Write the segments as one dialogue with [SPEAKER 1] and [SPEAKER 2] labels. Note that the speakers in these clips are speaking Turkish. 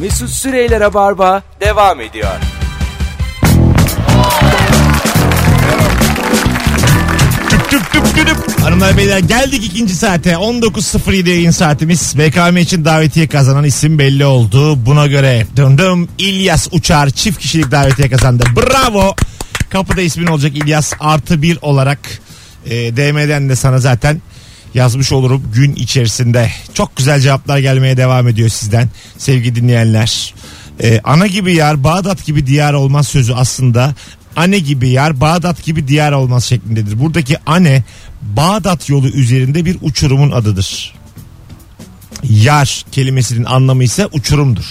[SPEAKER 1] Mesut Süreyler'e barba devam ediyor.
[SPEAKER 2] Tüp tüp tüp tüp tüp. Hanımlar beyler geldik ikinci saate. 19.07 yayın saatimiz. BKM için davetiye kazanan isim belli oldu. Buna göre döndüm. İlyas Uçar çift kişilik davetiye kazandı. Bravo. Kapıda ismin olacak İlyas artı bir olarak. e, DM'den de sana zaten yazmış olurum gün içerisinde. Çok güzel cevaplar gelmeye devam ediyor sizden sevgili dinleyenler. E, ana gibi yar Bağdat gibi diyar olmaz sözü aslında anne gibi yer Bağdat gibi diyar olmaz şeklindedir. Buradaki anne Bağdat yolu üzerinde bir uçurumun adıdır. Yar kelimesinin anlamı ise uçurumdur.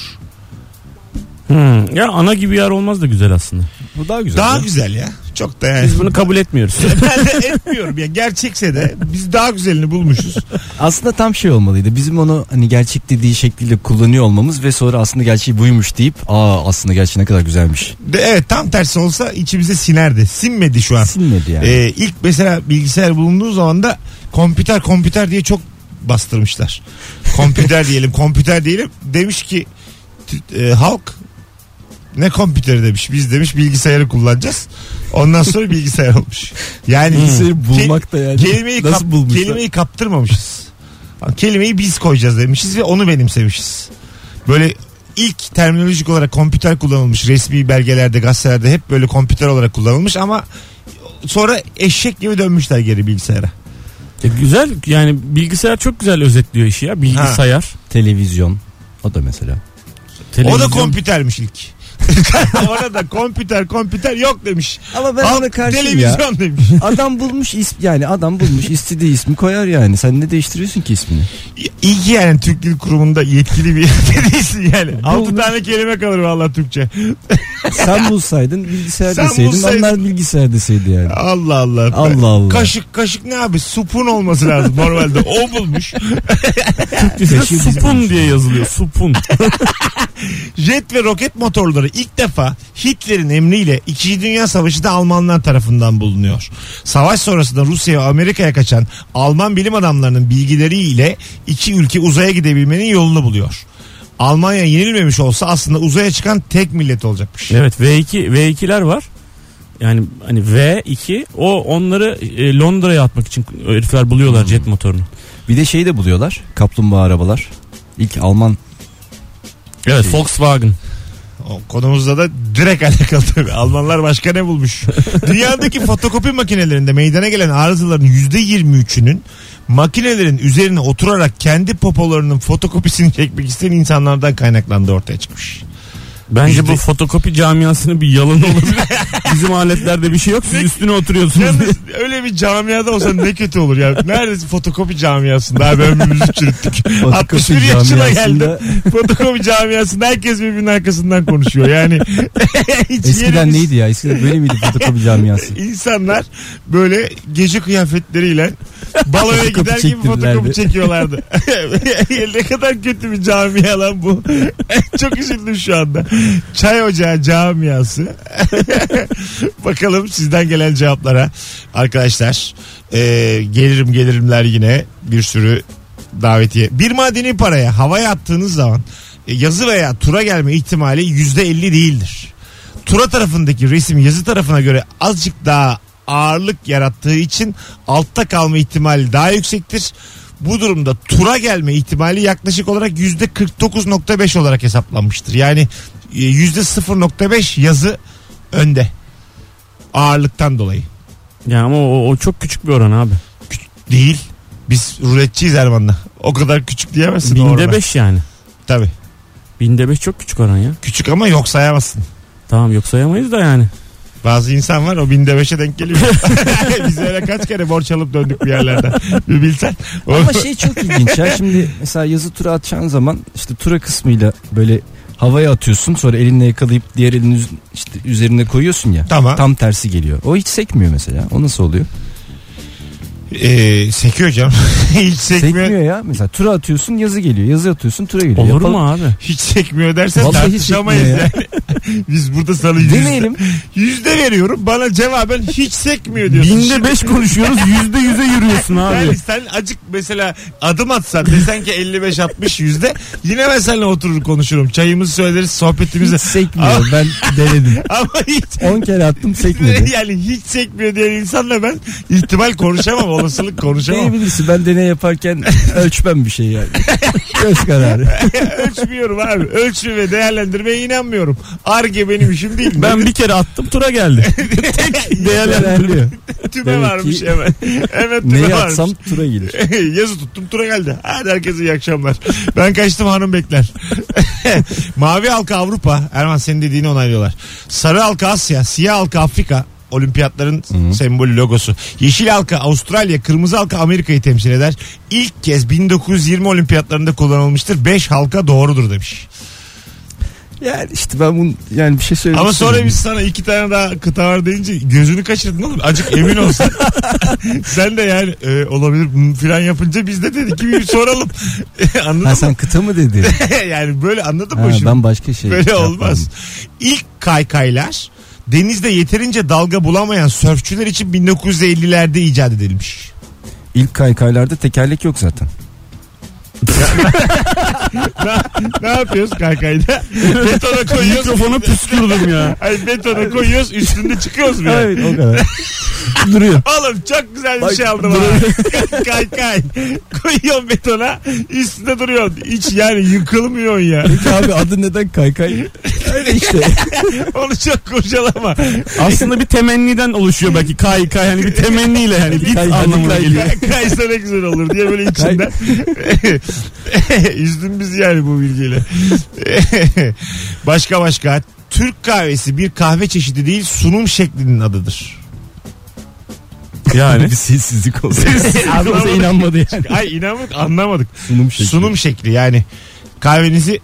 [SPEAKER 3] Hmm, ya ana gibi yer olmaz da güzel aslında.
[SPEAKER 4] Bu daha güzel.
[SPEAKER 2] Daha
[SPEAKER 4] ya.
[SPEAKER 2] güzel ya. Çok da yani.
[SPEAKER 3] Biz bunu kabul etmiyoruz.
[SPEAKER 2] ben de etmiyorum ya. Gerçekse de biz daha güzelini bulmuşuz.
[SPEAKER 4] Aslında tam şey olmalıydı. Bizim onu hani gerçek dediği şekliyle kullanıyor olmamız ve sonra aslında gerçeği buymuş deyip aa aslında gerçeği ne kadar güzelmiş.
[SPEAKER 2] De, evet tam tersi olsa içimize sinerdi. Sinmedi şu an.
[SPEAKER 4] Sinmedi yani.
[SPEAKER 2] Ee, ilk mesela bilgisayar bulunduğu zaman da kompüter kompüter diye çok bastırmışlar. Kompüter diyelim kompüter diyelim. Demiş ki t- e, halk ne kompüteri demiş. Biz demiş bilgisayarı kullanacağız. Ondan sonra bilgisayar olmuş. Yani
[SPEAKER 4] Bilgisayarı
[SPEAKER 2] Ke-
[SPEAKER 4] Hmm. bulmak da yani.
[SPEAKER 2] Kelimeyi,
[SPEAKER 4] Nasıl
[SPEAKER 2] kap-
[SPEAKER 4] bulmuşlar?
[SPEAKER 2] kelimeyi kaptırmamışız. Kelimeyi biz koyacağız demişiz ve onu benimsemişiz. Böyle ilk terminolojik olarak kompüter kullanılmış resmi belgelerde gazetelerde hep böyle kompüter olarak kullanılmış ama sonra eşek gibi dönmüşler geri bilgisayara.
[SPEAKER 3] E, güzel yani bilgisayar çok güzel özetliyor işi ya. Bilgisayar.
[SPEAKER 4] Televizyon. O da mesela.
[SPEAKER 2] O da
[SPEAKER 3] televizyon.
[SPEAKER 2] kompütermiş ilk. Ona da kompüter kompüter yok demiş.
[SPEAKER 4] Ama ben
[SPEAKER 2] Al,
[SPEAKER 4] ona karşıyım ya.
[SPEAKER 2] televizyon demiş.
[SPEAKER 4] Adam bulmuş ism yani adam bulmuş istediği ismi koyar yani. Sen ne değiştiriyorsun ki ismini?
[SPEAKER 2] İyi ki yani Türk Dil Kurumu'nda yetkili bir yerde değilsin yani. Altı tane kelime kalır vallahi Türkçe.
[SPEAKER 4] Sen bulsaydın bilgisayar
[SPEAKER 2] Sen
[SPEAKER 4] deseydin
[SPEAKER 2] bulsaydın.
[SPEAKER 4] onlar bilgisayar deseydi yani.
[SPEAKER 2] Allah Allah.
[SPEAKER 4] Allah Allah.
[SPEAKER 2] Kaşık kaşık ne abi? Supun olması lazım normalde. O bulmuş.
[SPEAKER 3] Bizde
[SPEAKER 4] Keşke bizim
[SPEAKER 3] supun
[SPEAKER 4] olmuş.
[SPEAKER 3] diye yazılıyor. Supun.
[SPEAKER 2] Jet ve roket motorları ilk defa Hitler'in emriyle 2. Dünya Savaşı'nda Almanlar tarafından bulunuyor. Savaş sonrasında Rusya ve Amerika'ya kaçan Alman bilim adamlarının bilgileriyle iki ülke uzaya gidebilmenin yolunu buluyor. Almanya yenilmemiş olsa aslında uzaya çıkan tek millet olacakmış.
[SPEAKER 3] evet V2 V2'ler var. Yani hani V2 o onları e, Londra'ya atmak için herifler buluyorlar
[SPEAKER 4] Hmm.
[SPEAKER 3] jet motorunu.
[SPEAKER 4] Bir de şeyi de buluyorlar. Kaplumbağa arabalar. İlk Alman
[SPEAKER 3] Evet Volkswagen.
[SPEAKER 2] O konumuzda da direkt alakalı tabii. Almanlar başka ne bulmuş? Dünyadaki fotokopi makinelerinde meydana gelen arızaların %23'ünün makinelerin üzerine oturarak kendi popolarının fotokopisini çekmek isteyen insanlardan kaynaklandığı ortaya çıkmış.
[SPEAKER 3] Bence
[SPEAKER 2] Bizde-
[SPEAKER 3] bu fotokopi camiasının bir yalanı olabilir. Bizim aletlerde bir şey yok. Siz üstüne oturuyorsunuz.
[SPEAKER 2] Yalnız öyle bir camiada olsa ne kötü olur ya. Neredeyse fotokopi camiasında abi ömrümüzü çürüttük. 61 yaşına geldim.
[SPEAKER 4] camiasında
[SPEAKER 2] Fotokopi camiasında herkes birbirinin arkasından konuşuyor. Yani hiç
[SPEAKER 4] Eskiden
[SPEAKER 2] yerimiz-
[SPEAKER 4] neydi ya? Eskiden böyle miydi fotokopi camiası?
[SPEAKER 2] İnsanlar böyle gece kıyafetleriyle baloya
[SPEAKER 4] Fotokopi
[SPEAKER 2] gider gibi fotokopi
[SPEAKER 4] çektirdilerdi.
[SPEAKER 2] çekiyorlardı. ne kadar kötü bir camia lan bu. Çok üzüldüm şu anda. Çay ocağı camiası. Bakalım sizden gelen cevaplara. Arkadaşlar e, gelirim gelirimler yine bir sürü davetiye. Bir madeni paraya havaya attığınız zaman e, yazı veya tura gelme ihtimali yüzde elli değildir. Tura tarafındaki resim yazı tarafına göre azıcık daha ağırlık yarattığı için altta kalma ihtimali daha yüksektir. Bu durumda tura gelme ihtimali yaklaşık olarak yüzde %49.5 olarak hesaplanmıştır. Yani e, yüzde %0.5 yazı önde ağırlıktan dolayı.
[SPEAKER 3] ya ama o, o çok küçük bir oran abi.
[SPEAKER 2] Değil. Biz ruletçiyiz Erman'la. O kadar küçük diyemezsin o orana.
[SPEAKER 3] Binde beş yani.
[SPEAKER 2] Tabii.
[SPEAKER 3] Binde beş çok küçük oran ya.
[SPEAKER 2] Küçük ama yok sayamazsın.
[SPEAKER 3] Tamam yok sayamayız da yani.
[SPEAKER 2] Bazı insan var o binde beşe denk geliyor. Biz öyle kaç kere borç alıp döndük bir yerlerden. Bir bilsen. O-
[SPEAKER 4] Ama şey çok ilginç ya. Şimdi mesela yazı tura atacağın zaman işte tura kısmıyla böyle havaya atıyorsun sonra elinle yakalayıp diğer elini üz- işte üzerine koyuyorsun ya.
[SPEAKER 2] Tamam.
[SPEAKER 4] Tam tersi geliyor. O hiç sekmiyor mesela. O nasıl oluyor?
[SPEAKER 2] Ee, sekiyor canım. Hiç sekmiyor.
[SPEAKER 4] Sekmiyor ya. Mesela tura atıyorsun yazı geliyor. Yazı atıyorsun tura geliyor.
[SPEAKER 3] Olur
[SPEAKER 4] Yapalım.
[SPEAKER 3] mu abi?
[SPEAKER 2] Hiç sekmiyor dersen
[SPEAKER 4] Vallahi
[SPEAKER 2] tartışamayız
[SPEAKER 4] sekmiyor ya.
[SPEAKER 2] yani. Biz burada sana yüzde,
[SPEAKER 4] Deneyelim.
[SPEAKER 2] yüzde veriyorum. Bana cevaben hiç sekmiyor diyorsun.
[SPEAKER 3] Binde beş konuşuyoruz yüzde yüze yürüyorsun abi.
[SPEAKER 2] Yani sen acık mesela adım atsan desen ki 55-60 yüzde yine ben seninle oturur konuşurum. Çayımızı söyleriz sohbetimizi.
[SPEAKER 4] Hiç sekmiyor. ben denedim.
[SPEAKER 2] Ama hiç
[SPEAKER 4] 10 kere attım sekmedi.
[SPEAKER 2] yani hiç sekmiyor diyen insanla ben ihtimal konuşamam olasılık konuşamam.
[SPEAKER 4] Deneyebilirsin. Ben deney yaparken ölçmem bir şey yani. Göz kararı.
[SPEAKER 2] Ölçmüyorum abi. Ölçme ve değerlendirmeye inanmıyorum. Arge benim işim değil.
[SPEAKER 3] Ben bir kere attım tura geldi.
[SPEAKER 4] Değerlendiriyor.
[SPEAKER 2] tüme
[SPEAKER 4] Demek ki-
[SPEAKER 2] varmış hemen. Evet tüme
[SPEAKER 4] Neyi
[SPEAKER 2] varmış.
[SPEAKER 4] atsam tura gelir.
[SPEAKER 2] Yazı tuttum tura geldi. Hadi herkese iyi akşamlar. Ben kaçtım hanım bekler. Mavi halka Avrupa. Erman senin dediğini onaylıyorlar. Sarı halka Asya. Siyah halka Afrika. Olimpiyatların sembolü logosu. Yeşil halka Avustralya, kırmızı halka Amerika'yı temsil eder. İlk kez 1920 olimpiyatlarında kullanılmıştır. 5 halka doğrudur demiş.
[SPEAKER 4] Yani işte ben bunu yani bir şey söyleyeyim.
[SPEAKER 2] Ama sonra biz sana iki tane daha kıta var deyince gözünü kaçırdın oğlum. Acık emin olsun. Sen de yani e, olabilir hmm, filan yapınca biz de dedik ki bir soralım. Anladın
[SPEAKER 4] Ha
[SPEAKER 2] mı?
[SPEAKER 4] sen kıta mı dedin?
[SPEAKER 2] yani böyle anladın
[SPEAKER 4] Ha,
[SPEAKER 2] mı şimdi?
[SPEAKER 4] ben başka şey.
[SPEAKER 2] Böyle
[SPEAKER 4] yapmadım.
[SPEAKER 2] olmaz. İlk kaykaylar denizde yeterince dalga bulamayan sörfçüler için 1950'lerde icat edilmiş.
[SPEAKER 4] İlk kaykaylarda tekerlek yok zaten.
[SPEAKER 2] ne yapıyoruz kaykayda? Betona koyuyoruz.
[SPEAKER 3] Mikrofona püskürdüm ya.
[SPEAKER 2] Ay betona koyuyoruz üstünde çıkıyoruz mu yani?
[SPEAKER 4] Evet o kadar. Duruyor.
[SPEAKER 2] Oğlum çok güzel bir
[SPEAKER 4] Bak,
[SPEAKER 2] şey aldım ha. kay kay. Koyuyorsun betona üstünde duruyorsun. Hiç yani yıkılmıyorsun ya.
[SPEAKER 4] Peki abi adı neden kaykay? Öyle işte.
[SPEAKER 2] Onu çok kurcalama.
[SPEAKER 3] Aslında bir temenniden oluşuyor belki kay kay hani bir temenniyle yani git
[SPEAKER 4] Kay, hadi
[SPEAKER 3] anlamına
[SPEAKER 4] kay,
[SPEAKER 3] geliyor.
[SPEAKER 2] Kaysa ne güzel olur diye böyle içinden. Üzdün bizi yani bu bilgiyle. başka başka. Türk kahvesi bir kahve çeşidi değil sunum şeklinin adıdır.
[SPEAKER 3] Yani
[SPEAKER 4] bir sessizlik oldu. Abi
[SPEAKER 2] Anlamadık.
[SPEAKER 4] bize inanmadı yani.
[SPEAKER 2] Ay inanmadık anlamadık.
[SPEAKER 4] Sunum şekli.
[SPEAKER 2] Sunum şekli yani kahvenizi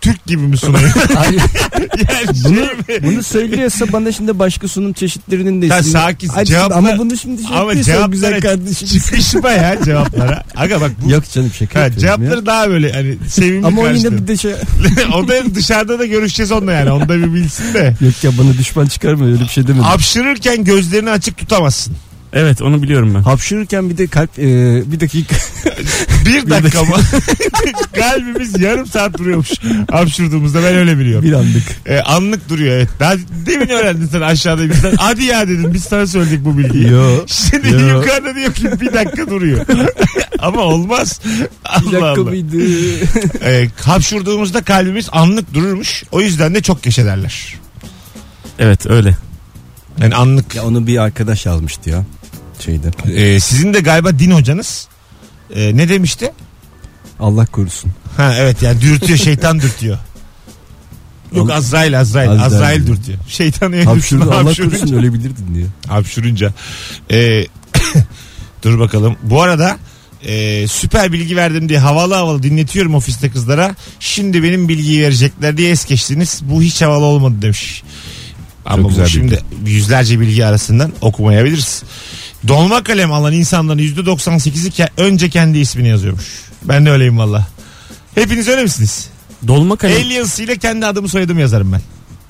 [SPEAKER 2] Türk gibi mi sunuyor?
[SPEAKER 4] Ay,
[SPEAKER 2] yani şey
[SPEAKER 4] bunu,
[SPEAKER 2] mi?
[SPEAKER 4] bunu söylüyorsa bana şimdi başka sunum çeşitlerinin de
[SPEAKER 2] Ya
[SPEAKER 4] ismini-
[SPEAKER 2] sakin,
[SPEAKER 4] Hadi
[SPEAKER 2] cevapla-
[SPEAKER 4] Ama bunu şimdi şey
[SPEAKER 2] Ama
[SPEAKER 4] yapıyorsa
[SPEAKER 2] cevaplara-
[SPEAKER 4] güzel kardeşim.
[SPEAKER 2] Çıkışma ya cevaplara. Aga bak bu
[SPEAKER 4] Yok canım şaka
[SPEAKER 2] Ha,
[SPEAKER 4] yapıyorum
[SPEAKER 2] cevapları
[SPEAKER 4] ya.
[SPEAKER 2] daha böyle hani sevimli
[SPEAKER 4] Ama o yine
[SPEAKER 2] karşılıyor.
[SPEAKER 4] bir de şey
[SPEAKER 2] o da dışarıda da görüşeceğiz onunla yani. Onu da bir bilsin de.
[SPEAKER 4] Yok ya bana düşman çıkarma öyle bir şey demedim.
[SPEAKER 2] Hapşırırken gözlerini açık tutamazsın.
[SPEAKER 3] evet onu biliyorum ben.
[SPEAKER 4] Hapşırırken bir de kalp e, bir dakika
[SPEAKER 2] Bir dakika mı? Kalbimiz yarım saat duruyormuş hapşurduğumuzda ben öyle biliyorum.
[SPEAKER 4] bir anlık.
[SPEAKER 2] Ee, anlık duruyor evet. Daha demin öğrendin sen aşağıda bizden. Hadi ya dedim biz sana söyledik bu bilgiyi.
[SPEAKER 4] Yo.
[SPEAKER 2] Şimdi
[SPEAKER 4] Yo.
[SPEAKER 2] yukarıda diyor ki bir dakika duruyor. Ama olmaz.
[SPEAKER 4] Bir
[SPEAKER 2] Allah
[SPEAKER 4] dakika
[SPEAKER 2] Allah.
[SPEAKER 4] mıydı?
[SPEAKER 2] Ee, hapşurduğumuzda kalbimiz anlık dururmuş. O yüzden de çok keşederler.
[SPEAKER 3] Evet öyle.
[SPEAKER 2] Yani anlık.
[SPEAKER 4] ya onu bir arkadaş yazmıştı ya şeyde.
[SPEAKER 2] Ee, sizin de galiba din hocanız ee, ne demişti?
[SPEAKER 4] Allah korusun.
[SPEAKER 2] Ha evet yani dürtüyor şeytan dürtüyor. Yok
[SPEAKER 4] Al-
[SPEAKER 2] Azrail Azrail Azrail,
[SPEAKER 4] Azrail.
[SPEAKER 2] dürtüyor. Şeytanı
[SPEAKER 4] Hapşırdı
[SPEAKER 2] hapşurunca.
[SPEAKER 4] Allah korusun ölebilirdin diye.
[SPEAKER 2] hapşurunca. Ee, dur bakalım. Bu arada e, süper bilgi verdim diye havalı havalı dinletiyorum ofiste kızlara. Şimdi benim bilgiyi verecekler diye es geçtiniz. Bu hiç havalı olmadı demiş. Ama
[SPEAKER 4] güzel
[SPEAKER 2] bu
[SPEAKER 4] bilgi.
[SPEAKER 2] şimdi yüzlerce bilgi arasından okumayabiliriz. Dolma kalem alan insanların %98'i ke- önce kendi ismini yazıyormuş. Ben de öyleyim valla. Hepiniz öyle misiniz?
[SPEAKER 3] Dolma kalem.
[SPEAKER 2] Aliens ile kendi adımı soyadımı yazarım ben.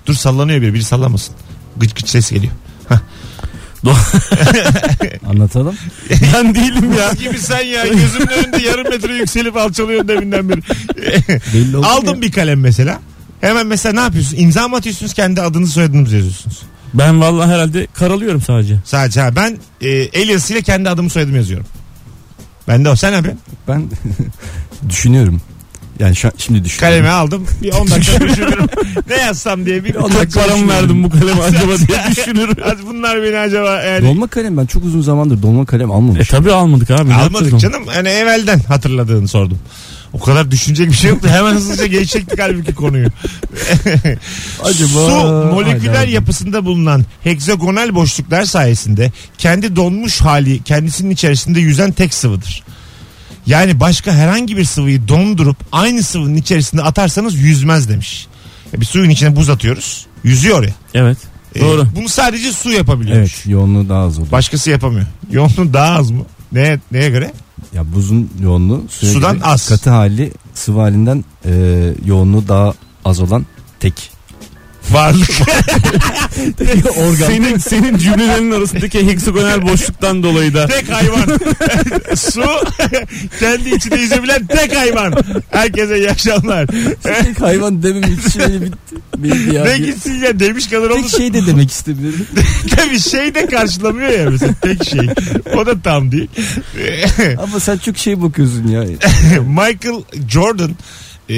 [SPEAKER 2] Dur sallanıyor biri. Biri sallamasın. Gıç gıç ses geliyor.
[SPEAKER 4] Anlatalım.
[SPEAKER 3] ben değilim ya.
[SPEAKER 2] Kız gibi sen ya gözümün önünde yarım metre yükselip alçalıyorsun deminden beri.
[SPEAKER 4] Belli oldu
[SPEAKER 2] Aldım
[SPEAKER 4] ya.
[SPEAKER 2] bir kalem mesela. Hemen mesela ne yapıyorsun? İmza mı atıyorsunuz kendi adınızı soyadınızı yazıyorsunuz.
[SPEAKER 3] Ben vallahi herhalde karalıyorum sadece.
[SPEAKER 2] Sadece ha, ben e, alias ile kendi adımı soyadımı yazıyorum. Ben de o. Sen ne yapıyorsun?
[SPEAKER 4] Ben düşünüyorum. Yani şu an, şimdi düşünüyorum.
[SPEAKER 2] Kalemi aldım. Bir 10 dakika düşünürüm. ne yazsam diye bir
[SPEAKER 3] Allah param verdim bu kaleme acaba diye düşünürüm.
[SPEAKER 2] Az bunlar beni acaba yani
[SPEAKER 4] Dolma kalem ben çok uzun zamandır dolma kalem
[SPEAKER 3] E
[SPEAKER 4] almamışım.
[SPEAKER 3] tabi almadık abi. ne yapacağız onu?
[SPEAKER 2] almadık canım. Hani evvelden hatırladığını sordum. O kadar düşünecek bir şey yoktu. Hemen hızlıca geçecektik halbuki konuyu. Su moleküler
[SPEAKER 4] Acaba.
[SPEAKER 2] yapısında bulunan heksagonal boşluklar sayesinde kendi donmuş hali kendisinin içerisinde yüzen tek sıvıdır. Yani başka herhangi bir sıvıyı dondurup aynı sıvının içerisinde atarsanız yüzmez demiş. Ya Bir suyun içine buz atıyoruz. Yüzüyor ya.
[SPEAKER 3] Evet.
[SPEAKER 2] Ee,
[SPEAKER 3] Doğru.
[SPEAKER 2] bunu sadece su yapabiliyormuş.
[SPEAKER 4] Evet yoğunluğu daha az oldu.
[SPEAKER 2] Başkası yapamıyor. Yoğunluğu daha az mı? Neye, neye göre?
[SPEAKER 4] Ya buzun yoğunluğu suya
[SPEAKER 2] Sudan
[SPEAKER 4] göre
[SPEAKER 2] az.
[SPEAKER 4] Katı hali sıvı halinden e, yoğunluğu daha az olan tek.
[SPEAKER 2] Varlık.
[SPEAKER 3] senin, senin cümlelerin arasındaki heksagonal boşluktan dolayı da
[SPEAKER 2] tek hayvan. Su kendi içinde yüzebilen tek hayvan. Herkese iyi akşamlar.
[SPEAKER 4] tek hayvan demem için beni şey bitti. Bildi ya.
[SPEAKER 2] ne gitsin ya demiş kadar oldu.
[SPEAKER 4] Tek şey de demek istemiyorum.
[SPEAKER 2] Tabii şey de karşılamıyor ya mesela tek şey. O da tam değil.
[SPEAKER 4] Ama sen çok şey bakıyorsun ya.
[SPEAKER 2] Michael Jordan e,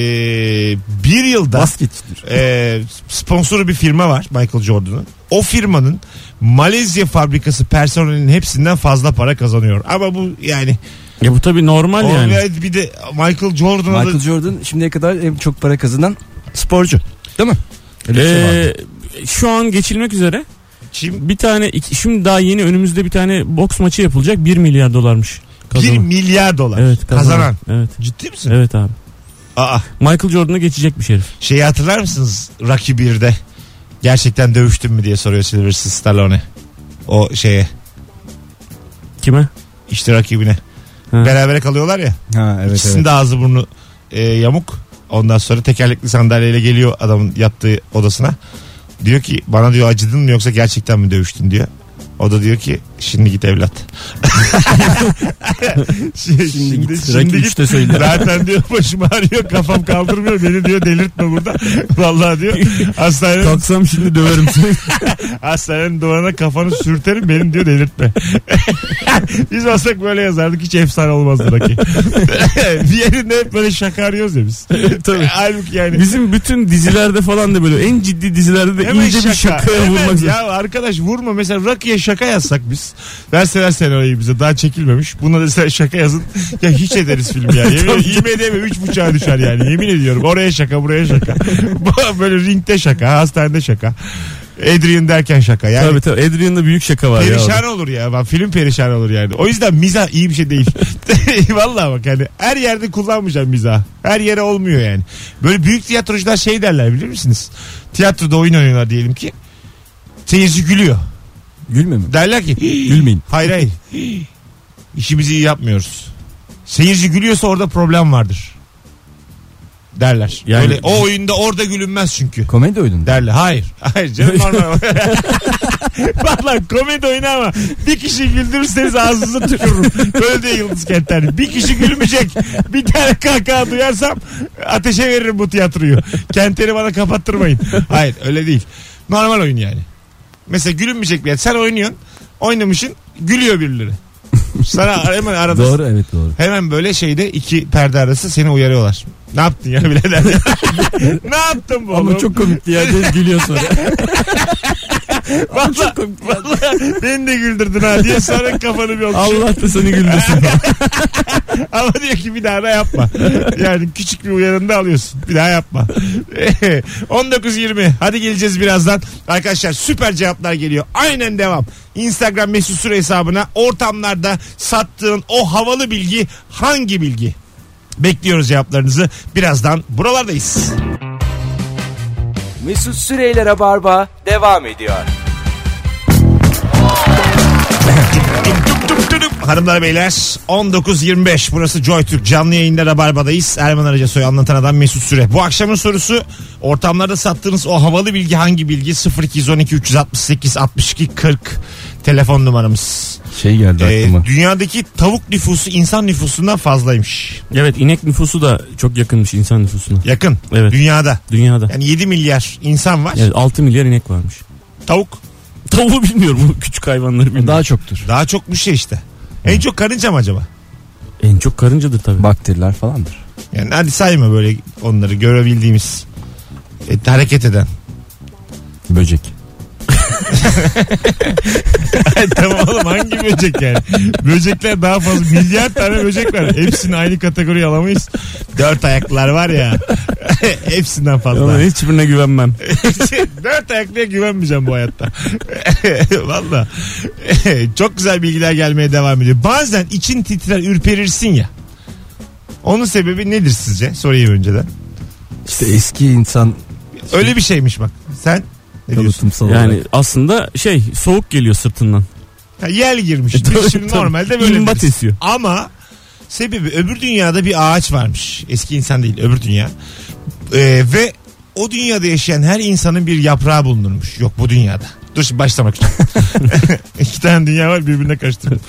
[SPEAKER 2] bir yılda
[SPEAKER 4] Basketçidir.
[SPEAKER 2] e, sponsoru bir firma var Michael Jordan'ın. O firmanın Malezya fabrikası personelinin hepsinden fazla para kazanıyor. Ama bu yani,
[SPEAKER 3] ya bu tabii normal
[SPEAKER 2] o
[SPEAKER 3] yani.
[SPEAKER 2] gayet bir de Michael Jordan'a da
[SPEAKER 4] Michael Jordan şimdiye kadar en çok para kazanan sporcu. Değil mi? Öyle bir şey vardı.
[SPEAKER 3] Ee, şu an geçilmek üzere
[SPEAKER 2] kim
[SPEAKER 3] bir tane iki- şimdi daha yeni önümüzde bir tane boks maçı yapılacak 1 milyar dolarmış.
[SPEAKER 2] 1
[SPEAKER 3] Kazanan.
[SPEAKER 2] milyar dolar
[SPEAKER 3] Evet kazanan.
[SPEAKER 2] kazanan.
[SPEAKER 3] Evet.
[SPEAKER 2] Ciddi misin?
[SPEAKER 3] Evet abi.
[SPEAKER 2] Aa,
[SPEAKER 3] Michael Jordan'a geçecek bir herif.
[SPEAKER 2] şeyi hatırlar mısınız Rocky 1'de? Gerçekten dövüştün mü diye soruyor Sylvester Stallone. O şeye
[SPEAKER 3] Kime?
[SPEAKER 2] işte rakibine.
[SPEAKER 3] Ha.
[SPEAKER 2] Berabere kalıyorlar ya.
[SPEAKER 4] Ha evet
[SPEAKER 2] İkisinin
[SPEAKER 4] evet.
[SPEAKER 2] de ağzı burnu e, yamuk. Ondan sonra tekerlekli sandalyeyle geliyor adamın yattığı odasına. Diyor ki bana diyor acıdın mı yoksa gerçekten mi dövüştün diyor. O da diyor ki şimdi git evlat. şimdi,
[SPEAKER 4] git. Rocky üçte söyledi.
[SPEAKER 2] Zaten diyor başım ağrıyor kafam kaldırmıyor beni diyor delirtme burada. Vallahi diyor hastanenin,
[SPEAKER 3] Kalksam şimdi döverim seni.
[SPEAKER 2] hastanenin duvarına kafanı sürterim benim diyor delirtme. biz olsak böyle yazardık hiç efsane olmazdı Rocky. bir yerinde hep böyle şaka arıyoruz ya biz.
[SPEAKER 3] Tabii.
[SPEAKER 2] Halbuki yani.
[SPEAKER 3] Bizim bütün dizilerde falan da böyle en ciddi dizilerde de
[SPEAKER 2] Hemen
[SPEAKER 3] iyice bir şakaya
[SPEAKER 2] Hemen
[SPEAKER 3] vurmak
[SPEAKER 2] ya
[SPEAKER 3] zorunda.
[SPEAKER 2] arkadaş vurma mesela Rocky'ye şaka yazsak biz verseler senaryoyu bize daha çekilmemiş buna deseler şaka yazın ya hiç ederiz film yani yemin, IMDB üç buçuğa düşer yani yemin ediyorum oraya şaka buraya şaka böyle ringde şaka hastanede şaka Adrian derken şaka yani
[SPEAKER 3] Tabii tabii Adrian'da büyük şaka var ya.
[SPEAKER 2] Perişan
[SPEAKER 3] orada.
[SPEAKER 2] olur ya. Bak, film perişan olur yani. O yüzden mizah iyi bir şey değil. Vallahi bak yani her yerde kullanmayacağım mizah. Her yere olmuyor yani. Böyle büyük tiyatrocular şey derler bilir misiniz? Tiyatroda oyun oynuyorlar diyelim ki. Seyirci gülüyor.
[SPEAKER 4] Gülme mi?
[SPEAKER 2] Derler ki
[SPEAKER 4] Gülmeyin.
[SPEAKER 2] hayır hayır. İşimizi iyi yapmıyoruz. Seyirci gülüyorsa orada problem vardır. Derler.
[SPEAKER 3] Yani-
[SPEAKER 2] Öyle, o oyunda orada gülünmez çünkü.
[SPEAKER 4] Komedi oyunu.
[SPEAKER 2] Derli. Hayır. Hayır canım normal. Valla komedi oyunu ama bir kişi güldürürseniz ağzınıza tükürürüm. Böyle diyor Yıldız Kentler. Bir kişi gülmeyecek. Bir tane kahkaha duyarsam ateşe veririm bu tiyatroyu. Kentleri bana kapattırmayın. Hayır öyle değil. Normal oyun yani. Mesela gülünmeyecek bir yer. Sen oynuyorsun. Oynamışsın. Gülüyor birileri. Sana hemen arada
[SPEAKER 4] Doğru evet doğru.
[SPEAKER 2] Hemen böyle şeyde iki perde arası seni uyarıyorlar. Ne yaptın ya birader? ne yaptın bu oğlum?
[SPEAKER 4] komikti ya. Gülüyor sonra.
[SPEAKER 2] Vallahi, vallahi beni de güldürdün ha diye sonra kafanı bir okşuyor.
[SPEAKER 3] Allah da seni güldürsün.
[SPEAKER 2] Ama diyor ki bir daha da yapma. Yani küçük bir uyarında alıyorsun. Bir daha yapma. 19.20 hadi geleceğiz birazdan. Arkadaşlar süper cevaplar geliyor. Aynen devam. Instagram mesut süre hesabına ortamlarda sattığın o havalı bilgi hangi bilgi? Bekliyoruz cevaplarınızı. Birazdan buralardayız.
[SPEAKER 1] Mesut Süreyler'e barba devam ediyor.
[SPEAKER 2] Dup dup dup dup. Hanımlar beyler 19.25 burası Joy Türk canlı yayında Rabarba'dayız. Erman Arıca Soy anlatan adam Mesut Süre. Bu akşamın sorusu ortamlarda sattığınız o havalı bilgi hangi bilgi? 0212 368 62 40 telefon numaramız.
[SPEAKER 4] Şey geldi
[SPEAKER 2] Ee,
[SPEAKER 4] aklıma.
[SPEAKER 2] dünyadaki tavuk nüfusu insan nüfusundan fazlaymış.
[SPEAKER 3] evet inek nüfusu da çok yakınmış insan nüfusuna.
[SPEAKER 2] Yakın
[SPEAKER 3] Evet
[SPEAKER 2] dünyada.
[SPEAKER 3] dünyada.
[SPEAKER 2] Yani 7 milyar insan var.
[SPEAKER 3] Evet 6 milyar inek varmış.
[SPEAKER 2] Tavuk
[SPEAKER 3] Tavuğu bilmiyorum. Küçük hayvanları bilmiyorum.
[SPEAKER 4] Daha çoktur.
[SPEAKER 2] daha çokmuş ya işte. En çok karınca mı acaba?
[SPEAKER 3] En çok karıncadır tabii.
[SPEAKER 4] Bakteriler falandır.
[SPEAKER 2] Yani hadi sayma böyle onları görebildiğimiz e, hareket eden.
[SPEAKER 4] Böcek.
[SPEAKER 2] Ay, tamam oğlum hangi böcek yani? Böcekler daha fazla. Milyar tane böcek var. Hepsini aynı kategoriye alamayız. Dört ayaklılar var ya. Hepsinden
[SPEAKER 3] Ama
[SPEAKER 2] fazla.
[SPEAKER 3] hiçbirine güvenmem.
[SPEAKER 2] Dört ayaklıya güvenmeyeceğim bu hayatta. Valla. Çok güzel bilgiler gelmeye devam ediyor. Bazen için titrer ürperirsin ya. Onun sebebi nedir sizce? Sorayım önceden.
[SPEAKER 4] İşte eski insan
[SPEAKER 2] Öyle bir şeymiş bak. Sen ne diyorsun?
[SPEAKER 4] kalıtımsal olarak.
[SPEAKER 3] Yani aslında şey soğuk geliyor sırtından.
[SPEAKER 2] Ha, Yel girmiştir.
[SPEAKER 3] Tabii,
[SPEAKER 2] Şimdi
[SPEAKER 3] tabii.
[SPEAKER 2] normalde böyle
[SPEAKER 3] İmbat
[SPEAKER 2] deriz.
[SPEAKER 3] esiyor.
[SPEAKER 2] Ama sebebi öbür dünyada bir ağaç varmış. Eski insan değil öbür dünya. Ee, ve o dünyada yaşayan her insanın bir yaprağı bulunurmuş. Yok bu dünyada. Dur şimdi başlamak için. İki tane dünya var birbirine karıştırdım.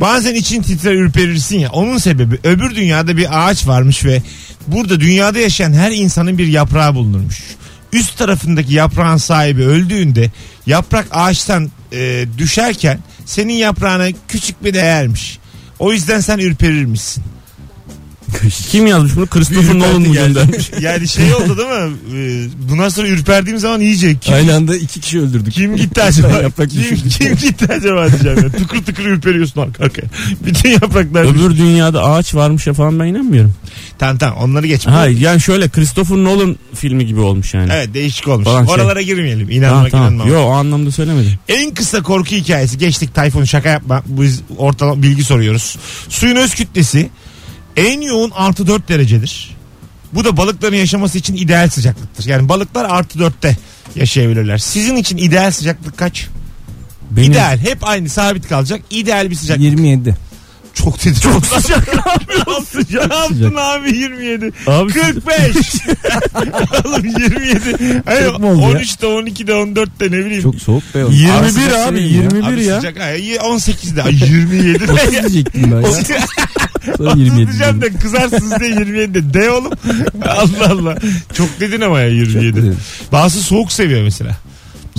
[SPEAKER 2] Bazen için titrer ürperirsin ya. Onun sebebi öbür dünyada bir ağaç varmış ve burada dünyada yaşayan her insanın bir yaprağı bulunurmuş. Üst tarafındaki yaprağın sahibi öldüğünde yaprak ağaçtan e, düşerken senin yaprağına küçük bir değermiş. O yüzden sen ürperirmişsin.
[SPEAKER 3] Kim yazmış bunu? Christopher Nolan mı göndermiş?
[SPEAKER 2] Yani şey oldu değil mi? Ee, Bundan sonra ürperdiğim zaman iyice kim,
[SPEAKER 4] Aynı anda iki kişi öldürdük.
[SPEAKER 2] kim gitti acaba?
[SPEAKER 4] Yaprak
[SPEAKER 2] kim,
[SPEAKER 4] düşürdü.
[SPEAKER 2] kim gitti acaba diyeceğim. ya. Tıkır tıkır ürperiyorsun arka arkaya. Bütün yapraklar.
[SPEAKER 3] Öbür dünyada ağaç varmış ya falan ben inanmıyorum.
[SPEAKER 2] Tamam tamam onları geç.
[SPEAKER 3] Hayır yani şöyle Christopher Nolan filmi gibi olmuş yani.
[SPEAKER 2] Evet değişik olmuş.
[SPEAKER 3] Falan şey.
[SPEAKER 2] Oralara girmeyelim.
[SPEAKER 3] Ha,
[SPEAKER 2] İnanmak
[SPEAKER 3] tamam.
[SPEAKER 2] inanmamak.
[SPEAKER 3] Yo o anlamda söylemedim.
[SPEAKER 2] En kısa korku hikayesi geçtik Tayfun şaka yapma biz ortalama bilgi soruyoruz. Suyun öz kütlesi en yoğun artı 4 derecedir. Bu da balıkların yaşaması için ideal sıcaklıktır. Yani balıklar artı 4'te yaşayabilirler. Sizin için ideal sıcaklık kaç?
[SPEAKER 3] Benim
[SPEAKER 2] İdeal hep aynı sabit kalacak. İdeal bir sıcaklık.
[SPEAKER 4] 27.
[SPEAKER 2] Çok dedi. Çok sıcak. ne yapıyorsun? Ne yaptın abi 27?
[SPEAKER 3] Abi
[SPEAKER 2] 45. Oğlum 27. Hayır,
[SPEAKER 4] Çok mu oldu ya?
[SPEAKER 2] 13'te 12'de 14'te ne bileyim.
[SPEAKER 4] Çok soğuk be. şey
[SPEAKER 3] 21 abi,
[SPEAKER 4] ya.
[SPEAKER 3] 21
[SPEAKER 2] Abi
[SPEAKER 3] ya.
[SPEAKER 2] sıcak ay 18'de ay 27 de.
[SPEAKER 4] 30 diyecektim ben ya. Sonra
[SPEAKER 2] 30
[SPEAKER 4] 27
[SPEAKER 2] diyeceğim
[SPEAKER 4] dedim.
[SPEAKER 2] de kızarsınız diye 27 de. De oğlum. Allah Allah. Çok dedin ama ya 27.
[SPEAKER 4] dedim.
[SPEAKER 2] Bazısı soğuk seviyor mesela.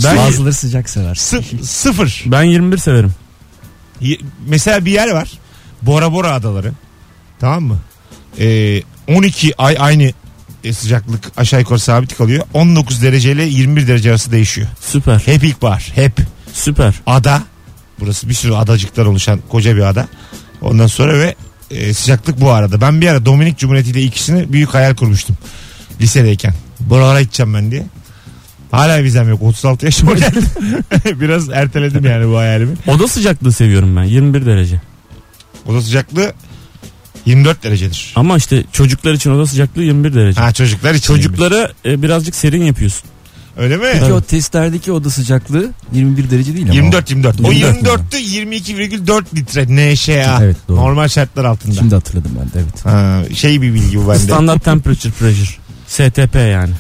[SPEAKER 2] Ben
[SPEAKER 4] Bazıları sıcak sever.
[SPEAKER 2] Sıf- sıfır.
[SPEAKER 3] Ben 21 severim.
[SPEAKER 2] Y- Mesela bir yer var. Bora Bora adaları. Tamam mı? Ee, 12 ay aynı e, sıcaklık aşağı yukarı sabit kalıyor. 19 dereceyle 21 derece arası değişiyor.
[SPEAKER 3] Süper.
[SPEAKER 2] Hep ilkbahar. Hep.
[SPEAKER 3] Süper.
[SPEAKER 2] ada. Burası bir sürü adacıklar oluşan koca bir ada. Ondan sonra ve e, sıcaklık bu arada. Ben bir ara Dominik Cumhuriyeti ile ikisini büyük hayal kurmuştum. Lisedeyken. Buralara gideceğim ben diye. Hala vizem yok. 36 yaşıma geldim. Biraz erteledim yani bu hayalimi.
[SPEAKER 3] Oda sıcaklığı seviyorum ben 21 derece.
[SPEAKER 2] Oda sıcaklığı 24 derecedir.
[SPEAKER 3] Ama işte çocuklar için oda sıcaklığı 21 derece.
[SPEAKER 2] Ha çocuklar için.
[SPEAKER 3] Çocuklara e, birazcık serin yapıyorsun.
[SPEAKER 2] Öyle mi?
[SPEAKER 4] Peki o testlerdeki oda sıcaklığı 21 derece değil ama.
[SPEAKER 2] 24 24. O
[SPEAKER 4] 24
[SPEAKER 2] 24'tü 22,4 litre NŞA.
[SPEAKER 4] Evet, doğru.
[SPEAKER 2] Normal şartlar altında.
[SPEAKER 4] Şimdi hatırladım ben de evet.
[SPEAKER 2] Ha, şey bir bilgi bu bende.
[SPEAKER 3] Standart temperature pressure. STP yani.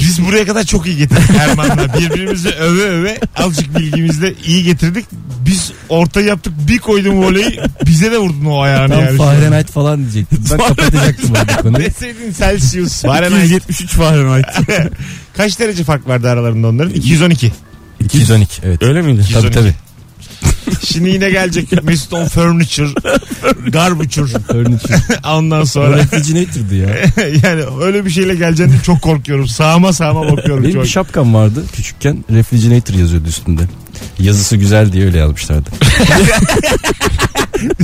[SPEAKER 2] Biz buraya kadar çok iyi getirdik Erman'la. Birbirimizi öve öve azıcık bilgimizle iyi getirdik. Biz orta yaptık bir koydum voleyi bize de vurdun o ayağını
[SPEAKER 4] Tam
[SPEAKER 2] yani.
[SPEAKER 4] Fahrenheit falan diyecektim. Ben kapatacaktım bu konuyu.
[SPEAKER 2] Deseydin Celsius. Fahrenheit.
[SPEAKER 3] 273 Fahrenheit.
[SPEAKER 2] Kaç derece fark vardı aralarında onların? 212.
[SPEAKER 4] 212 evet.
[SPEAKER 3] Öyle miydi?
[SPEAKER 4] Tabii
[SPEAKER 2] 212.
[SPEAKER 4] tabii.
[SPEAKER 2] Şimdi yine gelecek Mesut on furniture, garbuture
[SPEAKER 4] Furniture.
[SPEAKER 2] ondan sonra.
[SPEAKER 4] Refrigerator'dı ya.
[SPEAKER 2] yani öyle bir şeyle geleceğini çok korkuyorum. Sağıma sağıma bakıyorum
[SPEAKER 4] Benim
[SPEAKER 2] çok.
[SPEAKER 4] bir şapkam vardı küçükken. Refrigerator yazıyordu üstünde. Yazısı güzel diye öyle yazmışlardı.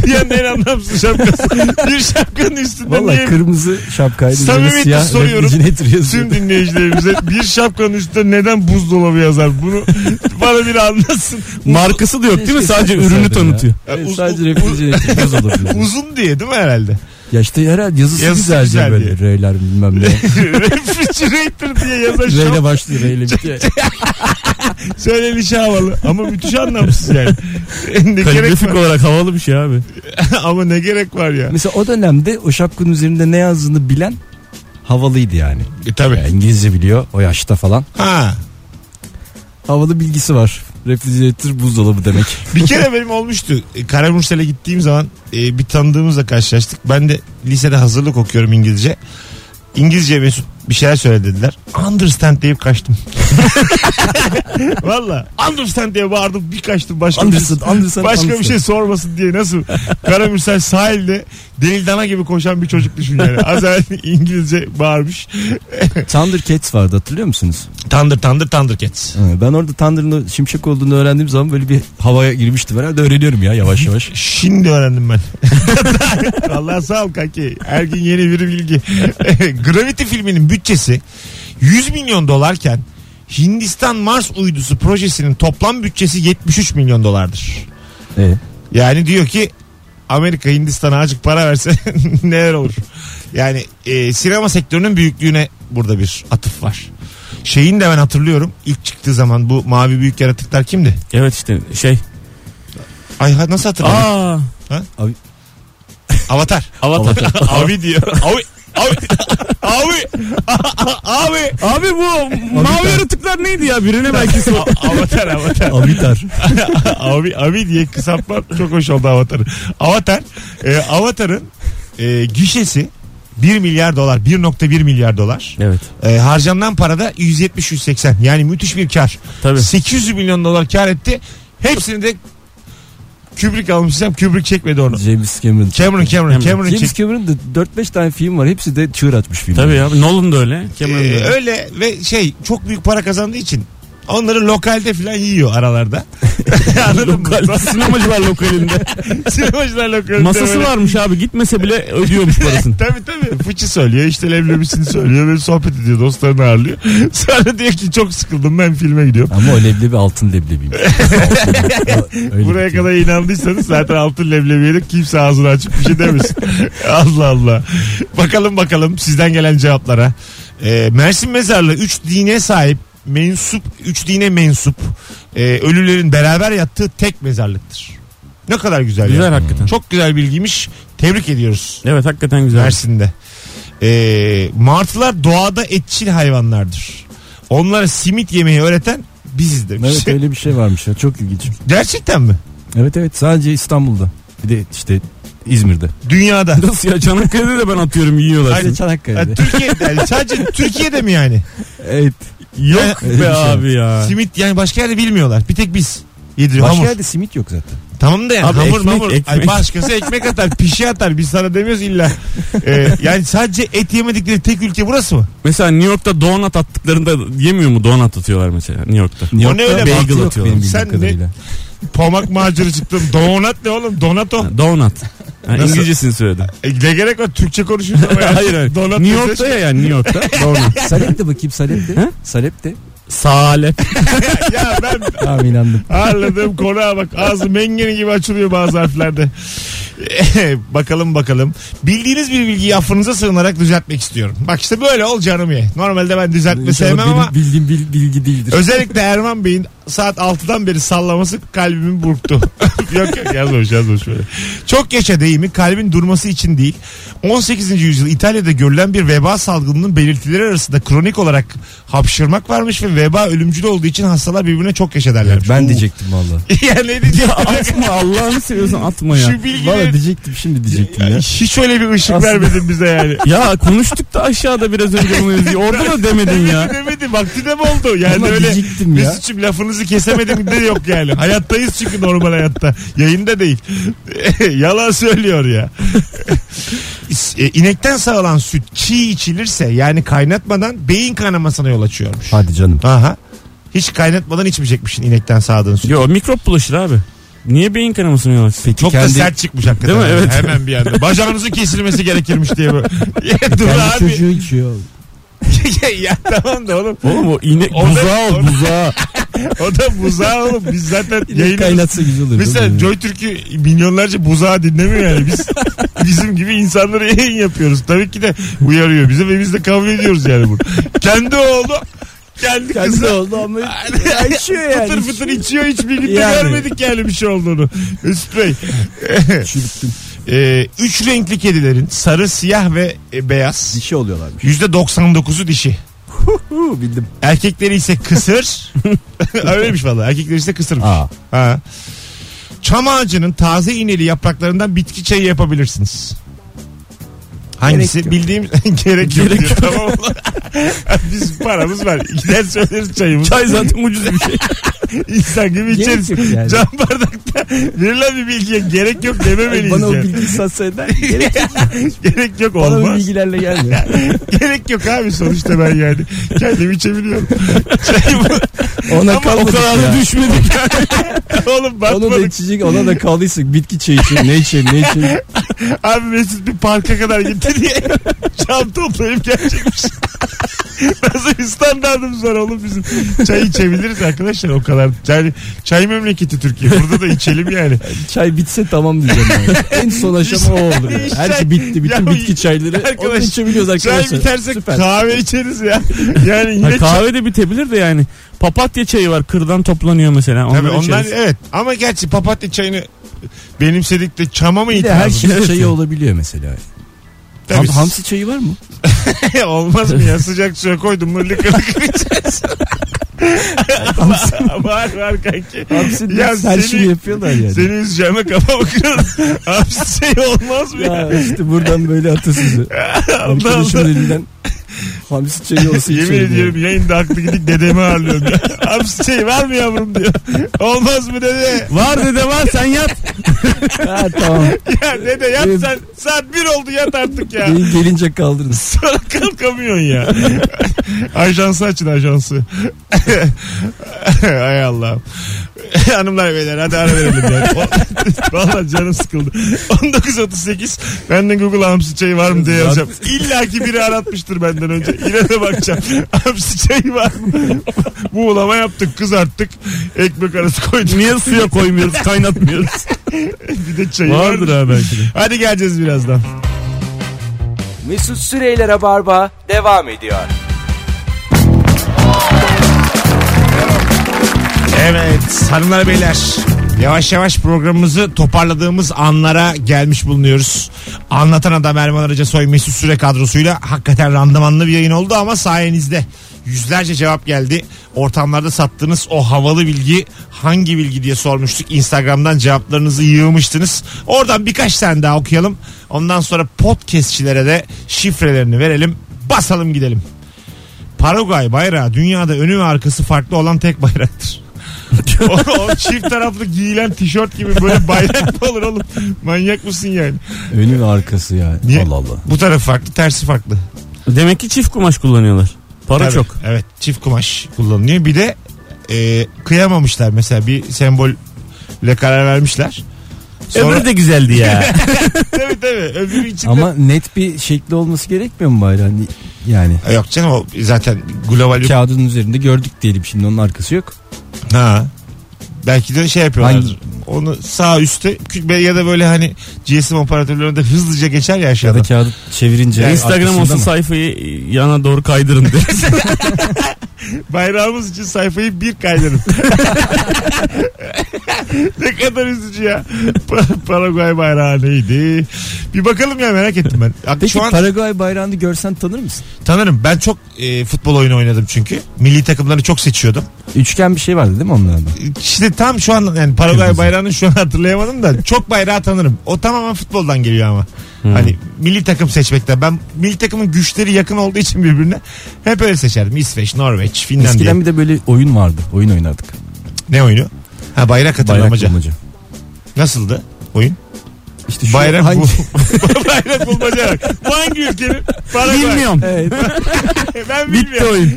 [SPEAKER 2] Dünyanın en anlamsız şapkası. bir şapkanın üstünde
[SPEAKER 4] Valla
[SPEAKER 2] niye
[SPEAKER 4] kırmızı şapkaydı. üzerine
[SPEAKER 2] Samimiyetle
[SPEAKER 4] siyah
[SPEAKER 2] soruyorum.
[SPEAKER 4] Refrigerator
[SPEAKER 2] Tüm
[SPEAKER 4] yazıyordu.
[SPEAKER 2] dinleyicilerimize bir şapkanın üstünde neden buzdolabı yazar? Bunu bana biri anlasın.
[SPEAKER 3] Markası da yok değil mi?
[SPEAKER 4] Keşke
[SPEAKER 3] Sadece
[SPEAKER 4] yapmasaydın
[SPEAKER 3] ürünü
[SPEAKER 4] ya.
[SPEAKER 3] tanıtıyor.
[SPEAKER 4] Evet,
[SPEAKER 2] Ee, Uz-
[SPEAKER 4] sadece
[SPEAKER 2] uz-
[SPEAKER 4] refrigerator yaz olabilir.
[SPEAKER 2] Uzun diye değil mi herhalde?
[SPEAKER 4] ya işte herhalde yazısı,
[SPEAKER 2] Yazısı
[SPEAKER 4] güzel,
[SPEAKER 2] güzel
[SPEAKER 4] diye böyle. R'ler bilmem ne.
[SPEAKER 2] Refrigerator diye yazan
[SPEAKER 4] R ile
[SPEAKER 2] şap
[SPEAKER 4] başlıyor R ile bitiyor.
[SPEAKER 2] söylenişi havalı. Ama müthiş anlamsız yani. ne gerek
[SPEAKER 3] Kaligrafik
[SPEAKER 2] var?
[SPEAKER 3] olarak havalı bir şey abi.
[SPEAKER 2] Ama ne gerek var ya?
[SPEAKER 4] Mesela o dönemde o şapkanın üzerinde ne yazdığını bilen havalıydı yani.
[SPEAKER 2] E, tabii.
[SPEAKER 4] Ya İngilizce biliyor o yaşta falan.
[SPEAKER 2] Ha.
[SPEAKER 4] Havalı bilgisi var. Refrigerator buzdolabı demek.
[SPEAKER 2] Bir kere benim olmuştu. E, Karamürsel'e gittiğim zaman e, bir tanıdığımızla karşılaştık. Ben de lisede hazırlık okuyorum İngilizce. İngilizce Mesut bir şeyler söyledi dediler. Understand deyip kaçtım. Valla understand diye bağırdım bir kaçtım başka
[SPEAKER 4] Anderson,
[SPEAKER 2] bir şey.
[SPEAKER 4] Anderson,
[SPEAKER 2] Başka
[SPEAKER 4] Anderson.
[SPEAKER 2] bir şey sormasın diye nasıl Karamürsel sahilde deli dana gibi koşan bir çocuk düşün yani. Az evvel İngilizce bağırmış.
[SPEAKER 4] Thundercats vardı hatırlıyor musunuz?
[SPEAKER 2] Tandır tandır tandır cats.
[SPEAKER 4] Ha, Ben orada Thunder'ın şimşek olduğunu öğrendiğim zaman böyle bir havaya girmiştim. Herhalde öğreniyorum ya yavaş yavaş.
[SPEAKER 2] Şimdi öğrendim ben. Vallahi sağ ol kanki. Her gün yeni bir bilgi. Gravity filminin bütçesi 100 milyon dolarken Hindistan Mars uydusu projesinin toplam bütçesi 73 milyon dolardır.
[SPEAKER 4] E,
[SPEAKER 2] Yani diyor ki Amerika Hindistan'a azıcık para verse neler olur. Yani e, sinema sektörünün büyüklüğüne burada bir atıf var. Şeyin de ben hatırlıyorum ilk çıktığı zaman bu mavi büyük yaratıklar kimdi?
[SPEAKER 3] Evet işte şey
[SPEAKER 2] Ay ha, nasıl hatırladın?
[SPEAKER 3] Aa,
[SPEAKER 2] Avatar.
[SPEAKER 3] Avatar.
[SPEAKER 2] Avi diyor. Avi. Avi. Avi. Avi.
[SPEAKER 3] Abi bu mavi yaratıklar neydi ya? Birine belki sor.
[SPEAKER 2] Avatar avatar.
[SPEAKER 4] Abitar.
[SPEAKER 2] Avi, avi diye kısaltmam çok hoş oldu avatarın. Avatar. e, avatarın e, gişesi 1 milyar dolar 1.1 milyar dolar
[SPEAKER 3] Evet.
[SPEAKER 2] E, harcanan parada 170-180 yani müthiş bir kar
[SPEAKER 3] Tabii.
[SPEAKER 2] 800 milyon dolar kar etti hepsini de Kubrick almışsam Kubrick çekmedi onu
[SPEAKER 4] James Cameron.
[SPEAKER 2] Cameron Cameron Cameron çekti
[SPEAKER 4] James Cameron'da 4-5 tane film var. Hepsi de çığır açmış film.
[SPEAKER 3] Tabii ya. Nolan da öyle. Cameron da
[SPEAKER 2] Ee,
[SPEAKER 3] öyle.
[SPEAKER 2] öyle ve şey çok büyük para kazandığı için onları lokalde falan yiyor aralarda. Anladın mı?
[SPEAKER 3] Lokal- Sinemacılar lokalinde.
[SPEAKER 2] Sinemacılar lokalde.
[SPEAKER 3] Masası
[SPEAKER 2] böyle-
[SPEAKER 3] varmış abi. Gitmese bile ödüyormuş parasını.
[SPEAKER 2] Tabii tabii. Fıçı söylüyor işte leblebisini söylüyor ve sohbet ediyor dostlarını ağırlıyor. Sonra diyor ki çok sıkıldım ben filme gidiyorum.
[SPEAKER 4] Ama o leblebi altın leblebiymiş. Öyle
[SPEAKER 2] Buraya
[SPEAKER 4] bir-
[SPEAKER 2] kadar inandıysanız zaten altın leblebiye de kimse ağzını açıp bir şey demesin. Allah Allah. Bakalım bakalım sizden gelen cevaplara. Ee, Mersin mezarlı 3 dine sahip mensup 3 dine mensup e, ölülerin beraber yattığı tek mezarlıktır. Ne kadar güzel,
[SPEAKER 3] Güzel
[SPEAKER 2] ya.
[SPEAKER 3] hakikaten.
[SPEAKER 2] Çok güzel bilgiymiş. Tebrik ediyoruz
[SPEAKER 3] Evet hakikaten güzel.
[SPEAKER 2] Mersin'de. Ee, martılar doğada etçil hayvanlardır. Onlara simit yemeyi öğreten biziz demiş.
[SPEAKER 4] Evet öyle bir şey varmış ya. Çok ilginç.
[SPEAKER 2] Gerçekten mi?
[SPEAKER 4] Evet evet sadece İstanbul'da. Bir de işte İzmir'de.
[SPEAKER 2] Dünyada.
[SPEAKER 3] Nasıl ya? Çanakkale'de de ben atıyorum yiyorlar.
[SPEAKER 2] Aynen.
[SPEAKER 3] seni.
[SPEAKER 2] Ha,
[SPEAKER 4] Çanakkale'de.
[SPEAKER 2] Türkiye'de yani sadece Türkiye'de mi yani?
[SPEAKER 4] evet.
[SPEAKER 2] Yok
[SPEAKER 4] öyle bir
[SPEAKER 3] Be
[SPEAKER 4] şey.
[SPEAKER 3] abi ya.
[SPEAKER 2] Simit yani başka yerde bilmiyorlar. Bir tek biz yediriyor
[SPEAKER 4] Başka
[SPEAKER 2] hamur.
[SPEAKER 4] yerde simit yok zaten.
[SPEAKER 2] Tamam da yani
[SPEAKER 3] Abi
[SPEAKER 2] hamur
[SPEAKER 3] ekmek,
[SPEAKER 2] mamur. Ay
[SPEAKER 3] ekmek.
[SPEAKER 2] başkası ekmek atar pişi atar biz sana demiyoruz illa. Ee, yani sadece et yemedikleri tek ülke burası mı?
[SPEAKER 3] Mesela New York'ta donut attıklarında yemiyor mu? Donut atıyorlar mesela New York'ta.
[SPEAKER 4] New
[SPEAKER 2] O ne öyle
[SPEAKER 4] bagel
[SPEAKER 2] mantı
[SPEAKER 3] yok
[SPEAKER 4] atıyorlar
[SPEAKER 3] benim
[SPEAKER 4] bildiğim
[SPEAKER 2] Sen ne-
[SPEAKER 4] kadarıyla.
[SPEAKER 2] Pomak macırı çıktım. Donat ne oğlum? Donato.
[SPEAKER 3] Ha, Donut. Ha,
[SPEAKER 2] Nasıl?
[SPEAKER 3] İngilizcesini söyledim.
[SPEAKER 2] E, ne gerek var? Türkçe konuşuyoruz ama ya.
[SPEAKER 3] hayır hayır.
[SPEAKER 2] Donut desene.
[SPEAKER 3] New York'ta ya yani New York'ta. Donut.
[SPEAKER 4] Salep de bakayım Salep de.
[SPEAKER 3] He?
[SPEAKER 4] Salep de.
[SPEAKER 3] Salep.
[SPEAKER 2] ya ben
[SPEAKER 4] Tamam inandım.
[SPEAKER 2] Ağırladığım konuğa bak. Ağzı mengeni gibi açılıyor bazı harflerde. bakalım bakalım. Bildiğiniz bir bilgiyi affınıza sığınarak düzeltmek istiyorum. Bak işte böyle ol canım ye. Normalde ben düzeltme
[SPEAKER 4] İnşallah
[SPEAKER 2] sevmem
[SPEAKER 4] benim
[SPEAKER 2] ama
[SPEAKER 4] bildiğim bil- bilgi değildir.
[SPEAKER 2] özellikle Erman Bey'in saat 6'dan beri sallaması kalbimi burktu. yok yok yazmamış yazmamış böyle. Çok yaşa deyimi kalbin durması için değil. 18. yüzyıl İtalya'da görülen bir veba salgınının belirtileri arasında kronik olarak hapşırmak varmış ve veba ölümcül olduğu için hastalar birbirine çok yaşa derlermiş.
[SPEAKER 4] ben
[SPEAKER 2] Oo.
[SPEAKER 4] diyecektim valla.
[SPEAKER 2] ya ne diyeceğim?
[SPEAKER 3] atma Allah'ını seviyorsan atma ya.
[SPEAKER 2] Şu
[SPEAKER 4] Valla
[SPEAKER 2] bilgileri
[SPEAKER 4] diyecektim şimdi diyecektim ya.
[SPEAKER 2] Ya hiç öyle bir ışık
[SPEAKER 4] Aslında-
[SPEAKER 2] vermedin bize yani.
[SPEAKER 3] Ya konuştuk da aşağıda biraz önce bunu yazıyor. Orada da demedin ya.
[SPEAKER 2] Demedim vakti de mi oldu? Yani
[SPEAKER 4] Ama
[SPEAKER 2] öyle
[SPEAKER 4] diyecektim ya.
[SPEAKER 2] Mesut'cum lafınızı kesemedim de yok yani. Hayattayız çünkü normal hayatta. Yayında değil. Yalan söylüyor ya. E, İnekten sağılan süt çiğ içilirse yani kaynatmadan beyin kanamasına yol açıyormuş.
[SPEAKER 4] Hadi canım.
[SPEAKER 2] Aha. Hiç kaynatmadan içmeyecekmişsin inekten sağdığın süt.
[SPEAKER 3] Yo mikrop bulaşır abi. Niye beyin kanamasına yol açsın?
[SPEAKER 2] Çok da
[SPEAKER 4] Kendi-
[SPEAKER 2] sert çıkmış hakikaten.
[SPEAKER 3] Değil mi? Evet.
[SPEAKER 2] Hemen bir anda. Bacağınızın kesilmesi gerekirmiş diye böyle. Ya dur
[SPEAKER 4] Kendi
[SPEAKER 2] abi.
[SPEAKER 4] çocuğu içiyor.
[SPEAKER 2] ya tamam da oğlum.
[SPEAKER 3] Oğlum o iğne
[SPEAKER 2] O da-
[SPEAKER 3] buzağı
[SPEAKER 2] o
[SPEAKER 3] ol
[SPEAKER 2] da-
[SPEAKER 3] buzağı.
[SPEAKER 2] O da buzağı oğlum. Biz zaten
[SPEAKER 4] İnek
[SPEAKER 2] yayınımız.
[SPEAKER 4] kaynatsa güzel olur.
[SPEAKER 2] Mesela Joy Türk'ü milyonlarca buzağı dinlemiyor yani. Biz bizim gibi insanları yayın yapıyoruz. Tabii ki de uyarıyor bizi ve biz de kabul ediyoruz yani bunu. Kendi oğlu kendi kızı
[SPEAKER 4] oldu ama içiyor
[SPEAKER 2] fıtır fıtır içiyor hiçbir günde
[SPEAKER 4] Yani.
[SPEAKER 2] görmedik yani bir şey olduğunu. Üst Bey. Ee, üç renkli kedilerin sarı, siyah ve e, beyaz.
[SPEAKER 4] Dişi oluyorlarmış.
[SPEAKER 2] %99'u dişi.
[SPEAKER 4] Huu, bildim.
[SPEAKER 2] Erkekleri ise kısır. Öyleymiş valla. Erkekleri ise kısırmış.
[SPEAKER 4] Aa,
[SPEAKER 2] Ha. Çam ağacının taze iğneli yapraklarından bitki çayı yapabilirsiniz. Hangisi
[SPEAKER 4] Gerek yok.
[SPEAKER 2] bildiğim gerek yok diyor. Tamam ulan. Biz paramız var. Gider söyleriz çayımız.
[SPEAKER 3] Çay zaten ucuz bir şey.
[SPEAKER 2] İnsan gibi
[SPEAKER 4] gerek
[SPEAKER 2] içeriz.
[SPEAKER 4] yok yani.
[SPEAKER 2] Cam bardakta verilen bir bilgiye gerek yok dememeliyiz
[SPEAKER 4] Bana o
[SPEAKER 2] yani.
[SPEAKER 4] bilgiyi satsaydın gerek yok.
[SPEAKER 2] Gerek yok
[SPEAKER 4] Bana o
[SPEAKER 2] olmaz.
[SPEAKER 4] bilgilerle gelme.
[SPEAKER 2] Gerek yok abi sonuçta ben yani. Kendim içebiliyorum. Çayımı
[SPEAKER 4] Ona
[SPEAKER 2] Ama o
[SPEAKER 4] kalmadık
[SPEAKER 3] kadar
[SPEAKER 4] ya.
[SPEAKER 3] da düşmedik.
[SPEAKER 2] oğlum
[SPEAKER 4] Onu da
[SPEAKER 2] batmadık.
[SPEAKER 4] içecek ona da kaldıysak bitki çayı için ne içelim ne içelim.
[SPEAKER 2] Abi Mesut bir parka kadar gitti diye çam toplayıp gelecekmiş. Nasıl bir standartımız var oğlum bizim. Çay içebiliriz arkadaşlar o kadar. Yani çay memleketi Türkiye. Burada da içelim yani.
[SPEAKER 4] Çay bitse tamam diyeceğim. yani. en son aşama o olur.
[SPEAKER 2] İşte-
[SPEAKER 4] Yani. Her şey bitti. Bütün
[SPEAKER 2] Ya-
[SPEAKER 4] bitki çayları. Onu da
[SPEAKER 2] Arkadaş,
[SPEAKER 4] içebiliyoruz
[SPEAKER 2] Çay
[SPEAKER 4] arkadaşlar.
[SPEAKER 2] biterse
[SPEAKER 4] Süper.
[SPEAKER 2] kahve içeriz ya. Yani
[SPEAKER 3] Ha,
[SPEAKER 2] yine çay.
[SPEAKER 3] kahve de bitebilir de yani. Papatya çayı var. Kırdan toplanıyor mesela. Onları
[SPEAKER 2] Tabii onlar
[SPEAKER 3] içeriz.
[SPEAKER 2] evet ama gerçi papatya çayını benimsedik de çama mı
[SPEAKER 4] Bir de
[SPEAKER 2] itirazı?
[SPEAKER 4] her şey- şeyin
[SPEAKER 3] Evet.
[SPEAKER 4] çayı olabiliyor mesela.
[SPEAKER 2] Tabii.
[SPEAKER 4] Ham- hamsi çayı var mı?
[SPEAKER 2] E, Olmaz mı ya sıcak suya koydum mu lıkır lıkır içeceğiz. var var kanki.
[SPEAKER 4] Hamsi
[SPEAKER 2] Ya
[SPEAKER 4] her şeyi
[SPEAKER 2] seni,
[SPEAKER 4] yapıyorlar yani.
[SPEAKER 2] seni üzeceğime kafamı kırarım. Hamsi şey olmaz mı ya?
[SPEAKER 4] Ya işte buradan böyle atasızı. Arkadaşın
[SPEAKER 2] Allah.
[SPEAKER 4] elinden hamsi çayı olsun.
[SPEAKER 2] Yemin
[SPEAKER 4] içelim
[SPEAKER 2] ediyorum yayında aklı gidip dedemi ağırlıyorum. Ya. Hamsi şey var mı yavrum diyor. Olmaz mı dede?
[SPEAKER 3] Var dede var sen yat.
[SPEAKER 4] yani. Ha tamam.
[SPEAKER 2] Ya dede yat sen. Saat bir oldu yat artık ya.
[SPEAKER 4] Beyin gelince kaldırın.
[SPEAKER 2] Sonra kalkamıyorsun ya. ajansı açın ajansı. Hay Allah. Hanımlar beyler hadi ara verelim ya. O- Vallahi canım sıkıldı. 19.38 benden Google hamsi çayı var mı diye yazacağım. İlla ki biri aratmıştır benden önce. Yine de bakacağım. Hamsi çayı var mı? Buğulama yaptık kızarttık. Ekmek arası koyduk.
[SPEAKER 3] Niye suya koymuyoruz kaynatmıyoruz.
[SPEAKER 2] Bir de çayı
[SPEAKER 3] Vardır
[SPEAKER 2] vardı.
[SPEAKER 3] ha belki de.
[SPEAKER 2] Hadi geleceğiz birazdan.
[SPEAKER 1] Mesut Süreyler'e barba devam ediyor.
[SPEAKER 2] Evet hanımlar beyler yavaş yavaş programımızı toparladığımız anlara gelmiş bulunuyoruz. Anlatan adam Erman Arıca Soy Mesut Süre kadrosuyla hakikaten randımanlı bir yayın oldu ama sayenizde yüzlerce cevap geldi. Ortamlarda sattığınız o havalı bilgi hangi bilgi diye sormuştuk. Instagram'dan cevaplarınızı yığmıştınız. Oradan birkaç tane daha okuyalım. Ondan sonra podcastçilere de şifrelerini verelim. Basalım gidelim. Paraguay bayrağı dünyada önü ve arkası farklı olan tek bayraktır. o, o çift taraflı giyilen tişört gibi böyle bayrak mı olur oğlum? Manyak mısın yani?
[SPEAKER 4] Önü ve arkası yani.
[SPEAKER 2] Niye?
[SPEAKER 4] Allah Allah.
[SPEAKER 2] Bu tarafı farklı, tersi farklı.
[SPEAKER 3] Demek ki çift kumaş kullanıyorlar. Para
[SPEAKER 2] Tabii,
[SPEAKER 3] çok.
[SPEAKER 2] Evet, çift kumaş kullanılıyor. Bir de e, kıyamamışlar mesela bir sembolle karar vermişler. Sonra,
[SPEAKER 3] Öbürü de güzeldi ya.
[SPEAKER 2] tabii tabii öbürü için de-
[SPEAKER 4] Ama net bir şekli olması gerekmiyor mu bayrağın? Yani
[SPEAKER 2] Yok canım o zaten global bir...
[SPEAKER 4] kağıdın üzerinde gördük diyelim şimdi onun arkası yok.
[SPEAKER 2] Ha. Belki de şey yapıyorlardır. Onu sağ üstte kü- ya da böyle hani GSM operatörlerinde hızlıca geçer ya
[SPEAKER 4] Ya
[SPEAKER 2] aşağıda.
[SPEAKER 4] da kağıdı çevirince
[SPEAKER 3] Instagram
[SPEAKER 4] arkasında
[SPEAKER 3] olsun
[SPEAKER 4] mı?
[SPEAKER 3] sayfayı yana doğru kaydırın diye.
[SPEAKER 2] Bayrağımız için sayfayı bir kaydırın. ne kadar üzücü ya. Pa- Paraguay bayrağı neydi? Bir bakalım ya merak ettim ben. Ak-
[SPEAKER 4] Peki
[SPEAKER 2] Şu an
[SPEAKER 4] Paraguay bayrağını görsen tanır mısın?
[SPEAKER 2] tanırım. Ben çok e, futbol oyunu oynadım çünkü. Milli takımları çok seçiyordum.
[SPEAKER 4] Üçgen bir şey vardı değil mi onlarda?
[SPEAKER 2] İşte tam şu an yani Paraguay
[SPEAKER 4] Kırmızı.
[SPEAKER 2] bayrağını şu an hatırlayamadım da çok bayrağı tanırım. O tamamen futboldan geliyor ama.
[SPEAKER 4] Hmm.
[SPEAKER 2] Hani milli takım seçmekten. Ben milli takımın güçleri yakın olduğu için birbirine hep öyle seçerdim. İsveç, Norveç, Finlandiya.
[SPEAKER 4] Eskiden bir de böyle oyun vardı. Oyun oynardık.
[SPEAKER 2] Ne oyunu? Ha bayrak hatırlamaca.
[SPEAKER 4] Bayrak bulmaca.
[SPEAKER 2] Nasıldı oyun?
[SPEAKER 4] İşte şu
[SPEAKER 2] Bayrak
[SPEAKER 4] hangi-
[SPEAKER 2] bu. Bayrak bulmaca bak. Bu hangi ülkenin? Paraguay. E,
[SPEAKER 3] Bilmiyorum.
[SPEAKER 4] Evet,
[SPEAKER 2] Ben
[SPEAKER 3] Bitti
[SPEAKER 2] bilmiyorum.
[SPEAKER 3] oyun.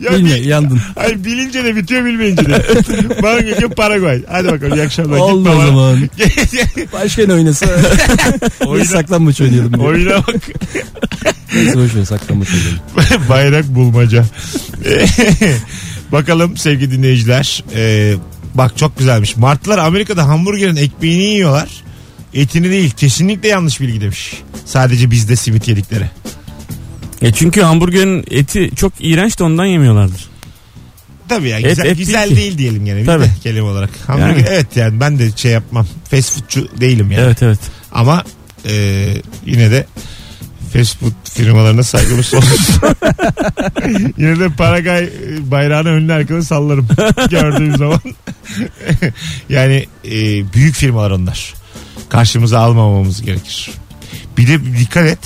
[SPEAKER 2] Ya bil-
[SPEAKER 4] bilmiyorum yandın.
[SPEAKER 2] Ay bilince de bitiyor bilmeyince de. Bana ülke Paraguay. Hadi bakalım iyi akşamlar. Git
[SPEAKER 4] Oldu o
[SPEAKER 2] baba.
[SPEAKER 4] zaman. Başka ne oynasa? Oyna. saklanmaç oynayalım. diye.
[SPEAKER 2] Oyuna bak.
[SPEAKER 4] Neyse boş ver saklanmaç oynayalım.
[SPEAKER 2] Bayrak bulmaca. bakalım sevgili dinleyiciler. Ee, bak çok güzelmiş. Martlar Amerika'da hamburgerin ekmeğini yiyorlar. Etini değil. Kesinlikle yanlış bilgi demiş. Sadece bizde simit yedikleri.
[SPEAKER 3] E çünkü hamburgerin eti çok iğrenç de ondan yemiyorlardır.
[SPEAKER 2] Tabii ya
[SPEAKER 3] Et,
[SPEAKER 2] güzel,
[SPEAKER 3] et
[SPEAKER 2] güzel
[SPEAKER 3] değil ki.
[SPEAKER 2] değil diyelim gene. Biz
[SPEAKER 3] Tabii.
[SPEAKER 2] de kelime olarak. Hamburger,
[SPEAKER 3] Yani.
[SPEAKER 2] Evet yani ben de şey yapmam. Fast foodçu değilim yani.
[SPEAKER 3] Evet evet.
[SPEAKER 2] Ama e, yine de fast food firmalarına saygımız sonsuz. yine de Paragay bayrağını önüne arkada sallarım gördüğüm zaman. yani e, büyük firmalar onlar. Karşımıza almamamız gerekir. Bir de dikkat et.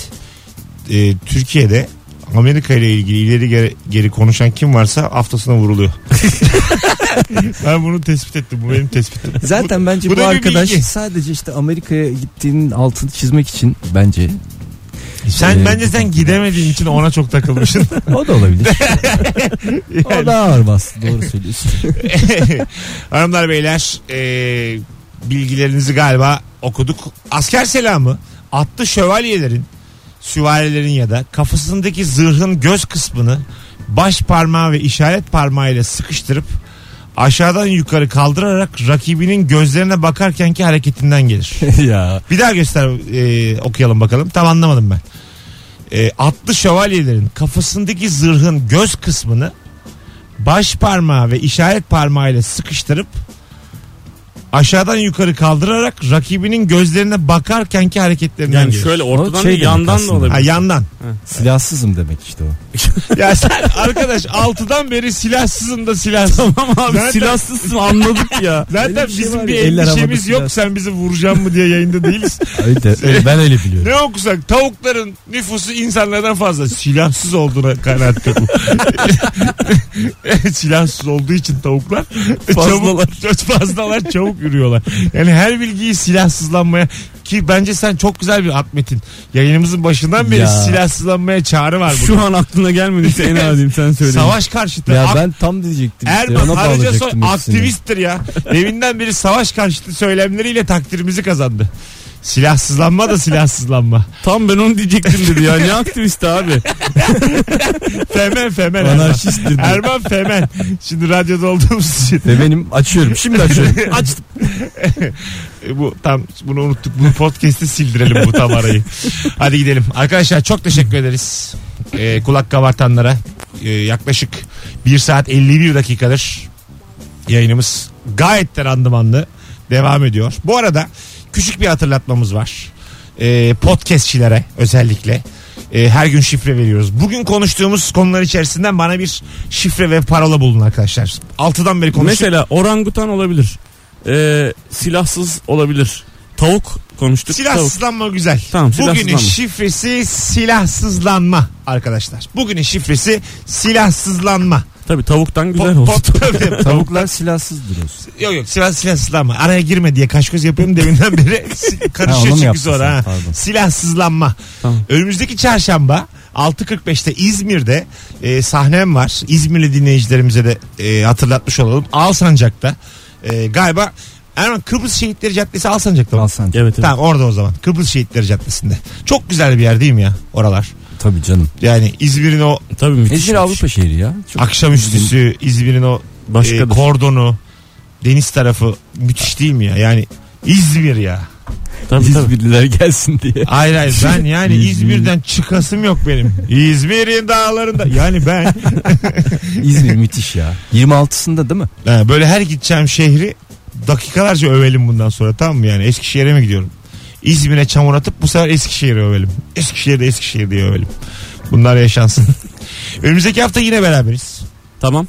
[SPEAKER 2] E, Türkiye'de Amerika ile ilgili ileri geri, geri konuşan kim varsa haftasına vuruluyor. ben bunu tespit ettim. Bu benim tespitim.
[SPEAKER 4] Zaten bence
[SPEAKER 2] bu
[SPEAKER 4] bu,
[SPEAKER 2] da bir
[SPEAKER 4] arkadaş
[SPEAKER 2] bilgi.
[SPEAKER 4] sadece işte Amerika'ya gittiğinin altını çizmek için bence.
[SPEAKER 2] Sen
[SPEAKER 4] Ee,
[SPEAKER 2] bence sen gidemediğin için ona çok takılmışsın.
[SPEAKER 4] O da olabilir.
[SPEAKER 2] Yani.
[SPEAKER 4] O da ağır bastı. Doğru söylüyorsun.
[SPEAKER 2] Hanımlar beyler e, bilgilerinizi galiba okuduk. Asker selamı atlı şövalyelerin, süvarilerin ya da kafasındaki zırhın göz kısmını baş parmağı ve işaret parmağıyla sıkıştırıp aşağıdan yukarı kaldırarak rakibinin gözlerine bakarkenki hareketinden gelir.
[SPEAKER 4] ya.
[SPEAKER 2] Bir daha göster e, okuyalım bakalım. Tam anlamadım ben. E, atlı şövalyelerin kafasındaki zırhın göz kısmını baş parmağı ve işaret parmağıyla sıkıştırıp aşağıdan yukarı kaldırarak rakibinin gözlerine bakarkenki hareketlerinden
[SPEAKER 3] Yani
[SPEAKER 2] diyor.
[SPEAKER 3] şöyle ortadan
[SPEAKER 4] O şey
[SPEAKER 3] değil, yandan
[SPEAKER 4] demek
[SPEAKER 3] da
[SPEAKER 4] aslında.
[SPEAKER 2] Ha,
[SPEAKER 3] olabilir.
[SPEAKER 2] yandan.
[SPEAKER 4] Silahsızım demek işte o.
[SPEAKER 2] Ya sen arkadaş altıdan beri silahsızım da silahsız.
[SPEAKER 3] Tamam abi
[SPEAKER 2] Zaten-
[SPEAKER 3] silahsızsın anladık ya.
[SPEAKER 2] Zaten
[SPEAKER 4] Öyle bir şey
[SPEAKER 2] bizim
[SPEAKER 4] var
[SPEAKER 2] bir
[SPEAKER 4] ya, eller havada
[SPEAKER 2] endişemiz
[SPEAKER 4] silah.
[SPEAKER 2] yok sen bizi vuracaksın mı diye yayında değiliz.
[SPEAKER 4] Öyle de- öyle- ben öyle biliyorum.
[SPEAKER 2] ne okusak tavukların nüfusu insanlardan fazla silahsız olduğuna kanaat bu. silahsız olduğu için tavuklar
[SPEAKER 3] Fazlalar.
[SPEAKER 2] Çabuk, fazlalar çabuk yürüyorlar. Yani her bilgiyi silahsızlanmaya ki bence sen çok güzel bir at metin. Yayınımızın başından beri
[SPEAKER 4] Ya.
[SPEAKER 2] silahsızlanmaya çağrı var burada.
[SPEAKER 3] Şu an aklına gelmediyse en adil sen söyle.
[SPEAKER 2] Savaş karşıtı.
[SPEAKER 4] Ya
[SPEAKER 2] ak-
[SPEAKER 4] ben tam diyecektim işte.
[SPEAKER 2] Erman
[SPEAKER 4] Ona
[SPEAKER 2] Arıcasoy
[SPEAKER 4] bağlayacaktım hepsini.
[SPEAKER 2] aktivisttir ya. Deminden beri savaş karşıtı söylemleriyle takdirimizi kazandı. Silahsızlanma da silahsızlanma.
[SPEAKER 3] Tam ben onu diyecektim dedi ya. Ne aktivisti abi?
[SPEAKER 2] Femen femen. Erman.
[SPEAKER 4] Anarşisttir. bu.
[SPEAKER 2] Erman femen. Şimdi radyoda olduğumuz için
[SPEAKER 4] Ve benim açıyorum. Şimdi açıyorum.
[SPEAKER 3] Açtım.
[SPEAKER 2] e, bu tam bunu unuttuk. Bu podcast'i sildirelim bu tam arayı. Hadi gidelim. Arkadaşlar çok teşekkür ederiz. E, kulak kabartanlara e, yaklaşık 1 saat 51 dakikadır yayınımız gayet de randımanlı devam ediyor. Bu arada küçük bir hatırlatmamız var. Ee, podcastçilere özellikle e, her gün şifre veriyoruz. Bugün konuştuğumuz konular içerisinden bana bir şifre ve parola bulun arkadaşlar. Altıdan beri konuştuk.
[SPEAKER 3] Mesela orangutan olabilir. Ee, silahsız olabilir. Tavuk konuştuk. Tavuk.
[SPEAKER 2] Silahsızlanma güzel.
[SPEAKER 3] Tamam,
[SPEAKER 2] Bugünün
[SPEAKER 3] silahsızlanma.
[SPEAKER 2] şifresi silahsızlanma arkadaşlar. Bugünün şifresi silahsızlanma.
[SPEAKER 3] Tabii tavuktan güzel
[SPEAKER 2] Po-
[SPEAKER 3] oldu.
[SPEAKER 2] po- tabii.
[SPEAKER 4] Tavuklar silahsızdır olsun.
[SPEAKER 2] Yok yok silah silahsızlanma. Araya girme diye kaş göz yapıyorum deminden beri si-
[SPEAKER 4] Ha, onu
[SPEAKER 2] karışıyor
[SPEAKER 4] mu
[SPEAKER 2] çünkü
[SPEAKER 4] yaptın sen?
[SPEAKER 2] sonra. Ha.
[SPEAKER 4] Pardon.
[SPEAKER 2] Silahsızlanma.
[SPEAKER 3] Tamam.
[SPEAKER 2] Önümüzdeki çarşamba 6.45'te İzmir'de e, sahnem var. İzmirli dinleyicilerimize de e, hatırlatmış olalım. Alsancak'ta e, galiba Erman Kıbrıs Şehitleri Caddesi Alsancak'ta mı?
[SPEAKER 4] Alsan.
[SPEAKER 3] Evet evet.
[SPEAKER 2] Tamam orada o zaman. Kıbrıs Şehitleri Caddesi'nde. Çok güzel bir yer değil mi ya oralar?
[SPEAKER 4] Tabii canım.
[SPEAKER 2] Yani İzmir'in o
[SPEAKER 3] Tabii müthiş.
[SPEAKER 4] İzmir Avrupa şehri ya. Çok
[SPEAKER 2] akşamüstüsü, İzmir'in o
[SPEAKER 3] Başka
[SPEAKER 2] e, kordonu, deniz tarafı müthiş değil mi ya? Yani İzmir ya.
[SPEAKER 3] tabii, tabii.
[SPEAKER 4] İzmirliler gelsin diye.
[SPEAKER 2] Hayır hayır ben yani İzmir'den çıkasım yok benim. İzmir'in dağlarında. Yani ben
[SPEAKER 4] İzmir müthiş ya. 26'sında değil mi?
[SPEAKER 2] Ha, Ee, böyle her gideceğim şehri dakikalarca övelim bundan sonra tamam mı yani Eskişehir'e mi gidiyorum? İzmir'e çamur atıp bu sefer Eskişehir'e övelim. Eskişehir'de Eskişehir diye övelim. Bunlar yaşansın. Önümüzdeki hafta yine beraberiz.
[SPEAKER 3] Tamam.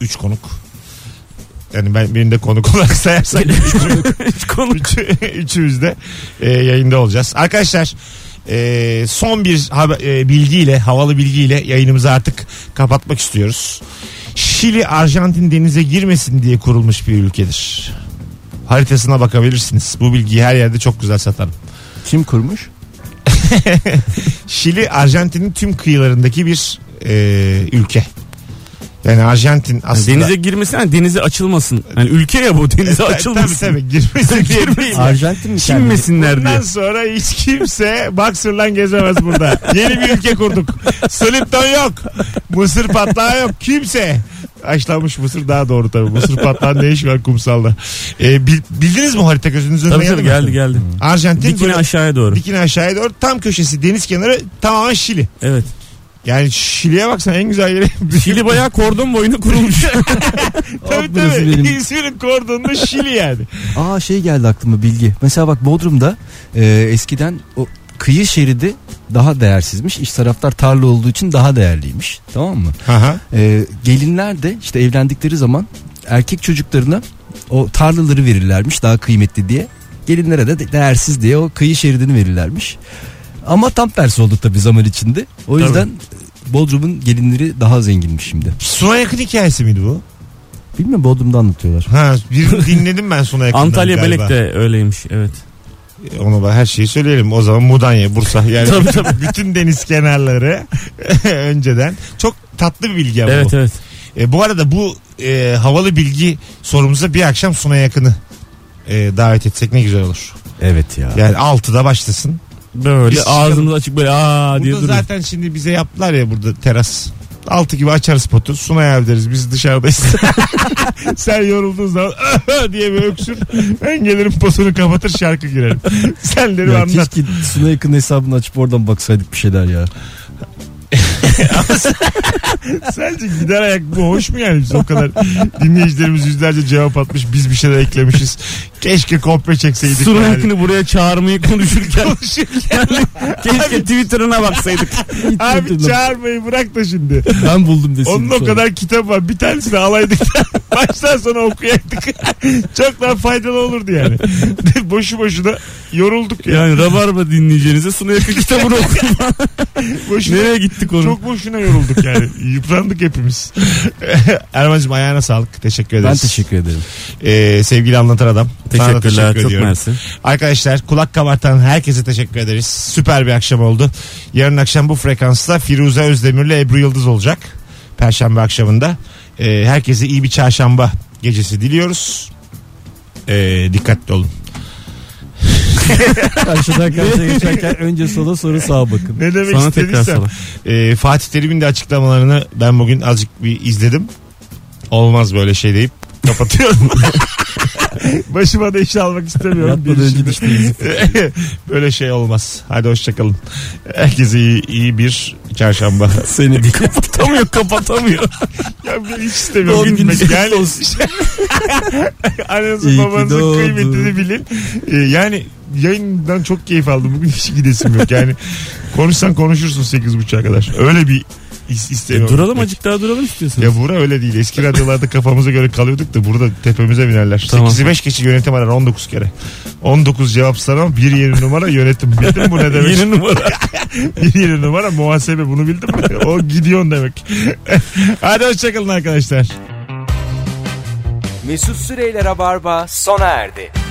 [SPEAKER 2] Üç konuk. Yani ben benim de konuk olarak sayarsak
[SPEAKER 3] Hiç konu.
[SPEAKER 2] Üç, üçümüz de e, yayında olacağız. Arkadaşlar e, son bir haber, e, bilgiyle, havalı bilgiyle yayınımızı artık kapatmak istiyoruz. Şili Arjantin denize girmesin diye kurulmuş bir ülkedir. Haritasına bakabilirsiniz. Bu bilgiyi her yerde çok güzel satarım.
[SPEAKER 4] Kim kurmuş?
[SPEAKER 2] Şili Arjantin'in tüm kıyılarındaki bir e, ülke. Yani Arjantin aslında...
[SPEAKER 3] Denize girmesin yani denize açılmasın. Yani ülke ya bu denize
[SPEAKER 2] Tabii,
[SPEAKER 3] açılmasın.
[SPEAKER 2] Tabii tabii girmesin. girmesin.
[SPEAKER 4] Arjantin mi? kendi?
[SPEAKER 3] Çinmesinler diye.
[SPEAKER 2] Bundan sonra hiç kimse boxer'la gezemez burada. Yeni bir ülke kurduk. Slipton yok. Mısır patlağı yok. Kimse. Açlanmış mısır daha doğru tabii. Mısır patlağı ne iş var kumsalda. Ee, bil- bildiniz mi harita gözünüzün önüne
[SPEAKER 3] Tabii
[SPEAKER 2] geldi
[SPEAKER 3] tabii
[SPEAKER 2] mi?
[SPEAKER 3] geldi geldi.
[SPEAKER 2] Arjantin
[SPEAKER 3] Dikine
[SPEAKER 2] böyle-
[SPEAKER 3] aşağıya doğru.
[SPEAKER 2] dikine aşağıya doğru tam köşesi deniz kenarı tamamen Şili.
[SPEAKER 3] Evet.
[SPEAKER 2] Yani Şili'ye baksan en güzel yeri.
[SPEAKER 3] Şili bayağı kordon boyunu kurulmuş.
[SPEAKER 2] tabii
[SPEAKER 4] burası
[SPEAKER 2] tabii.
[SPEAKER 4] benim.
[SPEAKER 2] İzmir'in kordonunda Şili yani.
[SPEAKER 4] Aa şey geldi aklıma bilgi. Mesela bak Bodrum'da e, eskiden o kıyı şeridi daha değersizmiş. İç taraflar tarla olduğu için daha değerliymiş. Tamam mı?
[SPEAKER 2] Aha.
[SPEAKER 4] E, gelinler de işte evlendikleri zaman erkek çocuklarına o tarlaları verirlermiş daha kıymetli diye. Gelinlere de değersiz diye o kıyı şeridini verirlermiş. Ama tam tersi oldu tabii zaman içinde. O yüzden Bodrum'un gelinleri daha zenginmiş şimdi.
[SPEAKER 2] Suna yakın hikayesi miydi bu?
[SPEAKER 4] Bilmiyorum Bodrum'da anlatıyorlar.
[SPEAKER 2] Ha, birini dinledim ben Suna yakından
[SPEAKER 3] Antalya
[SPEAKER 2] galiba.
[SPEAKER 3] Belek de öyleymiş. Evet.
[SPEAKER 2] Ona bak her şeyi söyleyelim. O zaman Mudanya, Bursa yani
[SPEAKER 3] Tabii,
[SPEAKER 2] bütün, bütün deniz kenarları önceden. Çok tatlı bir bilgi ama
[SPEAKER 3] Evet
[SPEAKER 2] bu.
[SPEAKER 3] evet.
[SPEAKER 2] E, bu arada bu e, havalı bilgi sorumuza bir akşam Suna yakını e, davet etsek ne güzel olur.
[SPEAKER 4] Evet ya.
[SPEAKER 2] Yani 6'da başlasın.
[SPEAKER 3] Böyle
[SPEAKER 2] Biz
[SPEAKER 3] ağzımız açık böyle aa diye
[SPEAKER 2] Burada
[SPEAKER 3] durur.
[SPEAKER 2] zaten şimdi bize yaptılar ya burada teras. 6 gibi açarız potu. Sunay abi deriz biz dışarıdayız. Sen yorulduğun zaman diye bir öksür. Ben gelirim potunu kapatır şarkı girerim. Sen derim
[SPEAKER 4] Ya
[SPEAKER 2] anlat.
[SPEAKER 4] keşke Suna yakın hesabını açıp oradan baksaydık bir şeyler ya.
[SPEAKER 2] Sence gider ayak bu hoş mu yani biz o kadar dinleyicilerimiz yüzlerce cevap atmış biz bir şeyler eklemişiz. Keşke kopya çekseydik.
[SPEAKER 3] Sur
[SPEAKER 2] yani. şey,
[SPEAKER 3] halkını buraya çağırmayı konuşurken. Yani keşke Twitter'ına baksaydık.
[SPEAKER 2] Abi çağırmayı bırak da şimdi.
[SPEAKER 4] Ben buldum desin.
[SPEAKER 2] Onun o kadar kitap var. Bir tanesini alaydık. Baştan sona okuyaydık. Çok daha faydalı olurdu yani. Boşu boşuna yorulduk ya.
[SPEAKER 3] Yani Rabarba dinleyeceğinize Suna Yakın kitabını okuyun.
[SPEAKER 2] Boşuna,
[SPEAKER 3] Nereye gittik onu?
[SPEAKER 2] çok boşuna yorulduk yani. Yıprandık hepimiz. Erman'cığım ayağına sağlık. Teşekkür ederiz.
[SPEAKER 4] Ben teşekkür ederim.
[SPEAKER 2] Ee, sevgili anlatan adam. Sana da
[SPEAKER 3] Teşekkürler.
[SPEAKER 2] teşekkür
[SPEAKER 3] çok
[SPEAKER 2] ediyorum.
[SPEAKER 3] mersi.
[SPEAKER 2] Arkadaşlar kulak kabartan herkese teşekkür ederiz. Süper bir akşam oldu. Yarın akşam bu frekansta Firuze Özdemir'le Ebru Yıldız olacak. Perşembe akşamında. Ee, herkese iyi bir çarşamba gecesi diliyoruz. Ee, dikkatli olun.
[SPEAKER 4] Karşıdan karşıya geçerken önce sola sonra sağa bakın.
[SPEAKER 2] Ne demek
[SPEAKER 3] Sana tekrar
[SPEAKER 2] istediysem.
[SPEAKER 3] salam.
[SPEAKER 2] Ee, Fatih Terim'in de açıklamalarını ben bugün azıcık bir izledim. Olmaz böyle şey deyip kapatıyorum. Başıma da iş almak istemiyorum.
[SPEAKER 4] Yatmadan
[SPEAKER 2] Bir
[SPEAKER 4] önce
[SPEAKER 2] şimdi-
[SPEAKER 4] dişlerinizi
[SPEAKER 2] Böyle şey olmaz. Hadi hoşçakalın. Herkese iyi, iyi bir çarşamba.
[SPEAKER 3] Seni bir kapatamıyor kapatamıyor.
[SPEAKER 2] ya ben hiç istemiyorum.
[SPEAKER 4] Doğum
[SPEAKER 2] gitmek.
[SPEAKER 4] gününüz
[SPEAKER 2] Yani... Ananızın
[SPEAKER 4] İyi ki
[SPEAKER 2] babanızın
[SPEAKER 4] doğdun.
[SPEAKER 2] kıymetini bilin. Ee, yani yayından çok keyif aldım. Bugün hiç gidesim yok. Yani konuşsan konuşursun 8.30'a kadar. Öyle bir is- istemiyorum.
[SPEAKER 3] E,
[SPEAKER 4] E,
[SPEAKER 2] E,
[SPEAKER 3] duralım azıcık daha duralım istiyorsan.
[SPEAKER 2] Ya bura öyle değil. Eski radyolarda kafamıza göre kalıyorduk da burada tepemize binerler.
[SPEAKER 3] Tamam.
[SPEAKER 2] 8'i 5 geçi yönetim arar 19 kere. 19 cevap sana bir yeni numara yönetim. Bildin mi bu ne demek?
[SPEAKER 3] Yeni numara.
[SPEAKER 2] bir yeni numara muhasebe bunu bildin mi? o gidiyorsun demek. Hadi hoşçakalın arkadaşlar.
[SPEAKER 1] Mesut Süreyler'e barba sona erdi.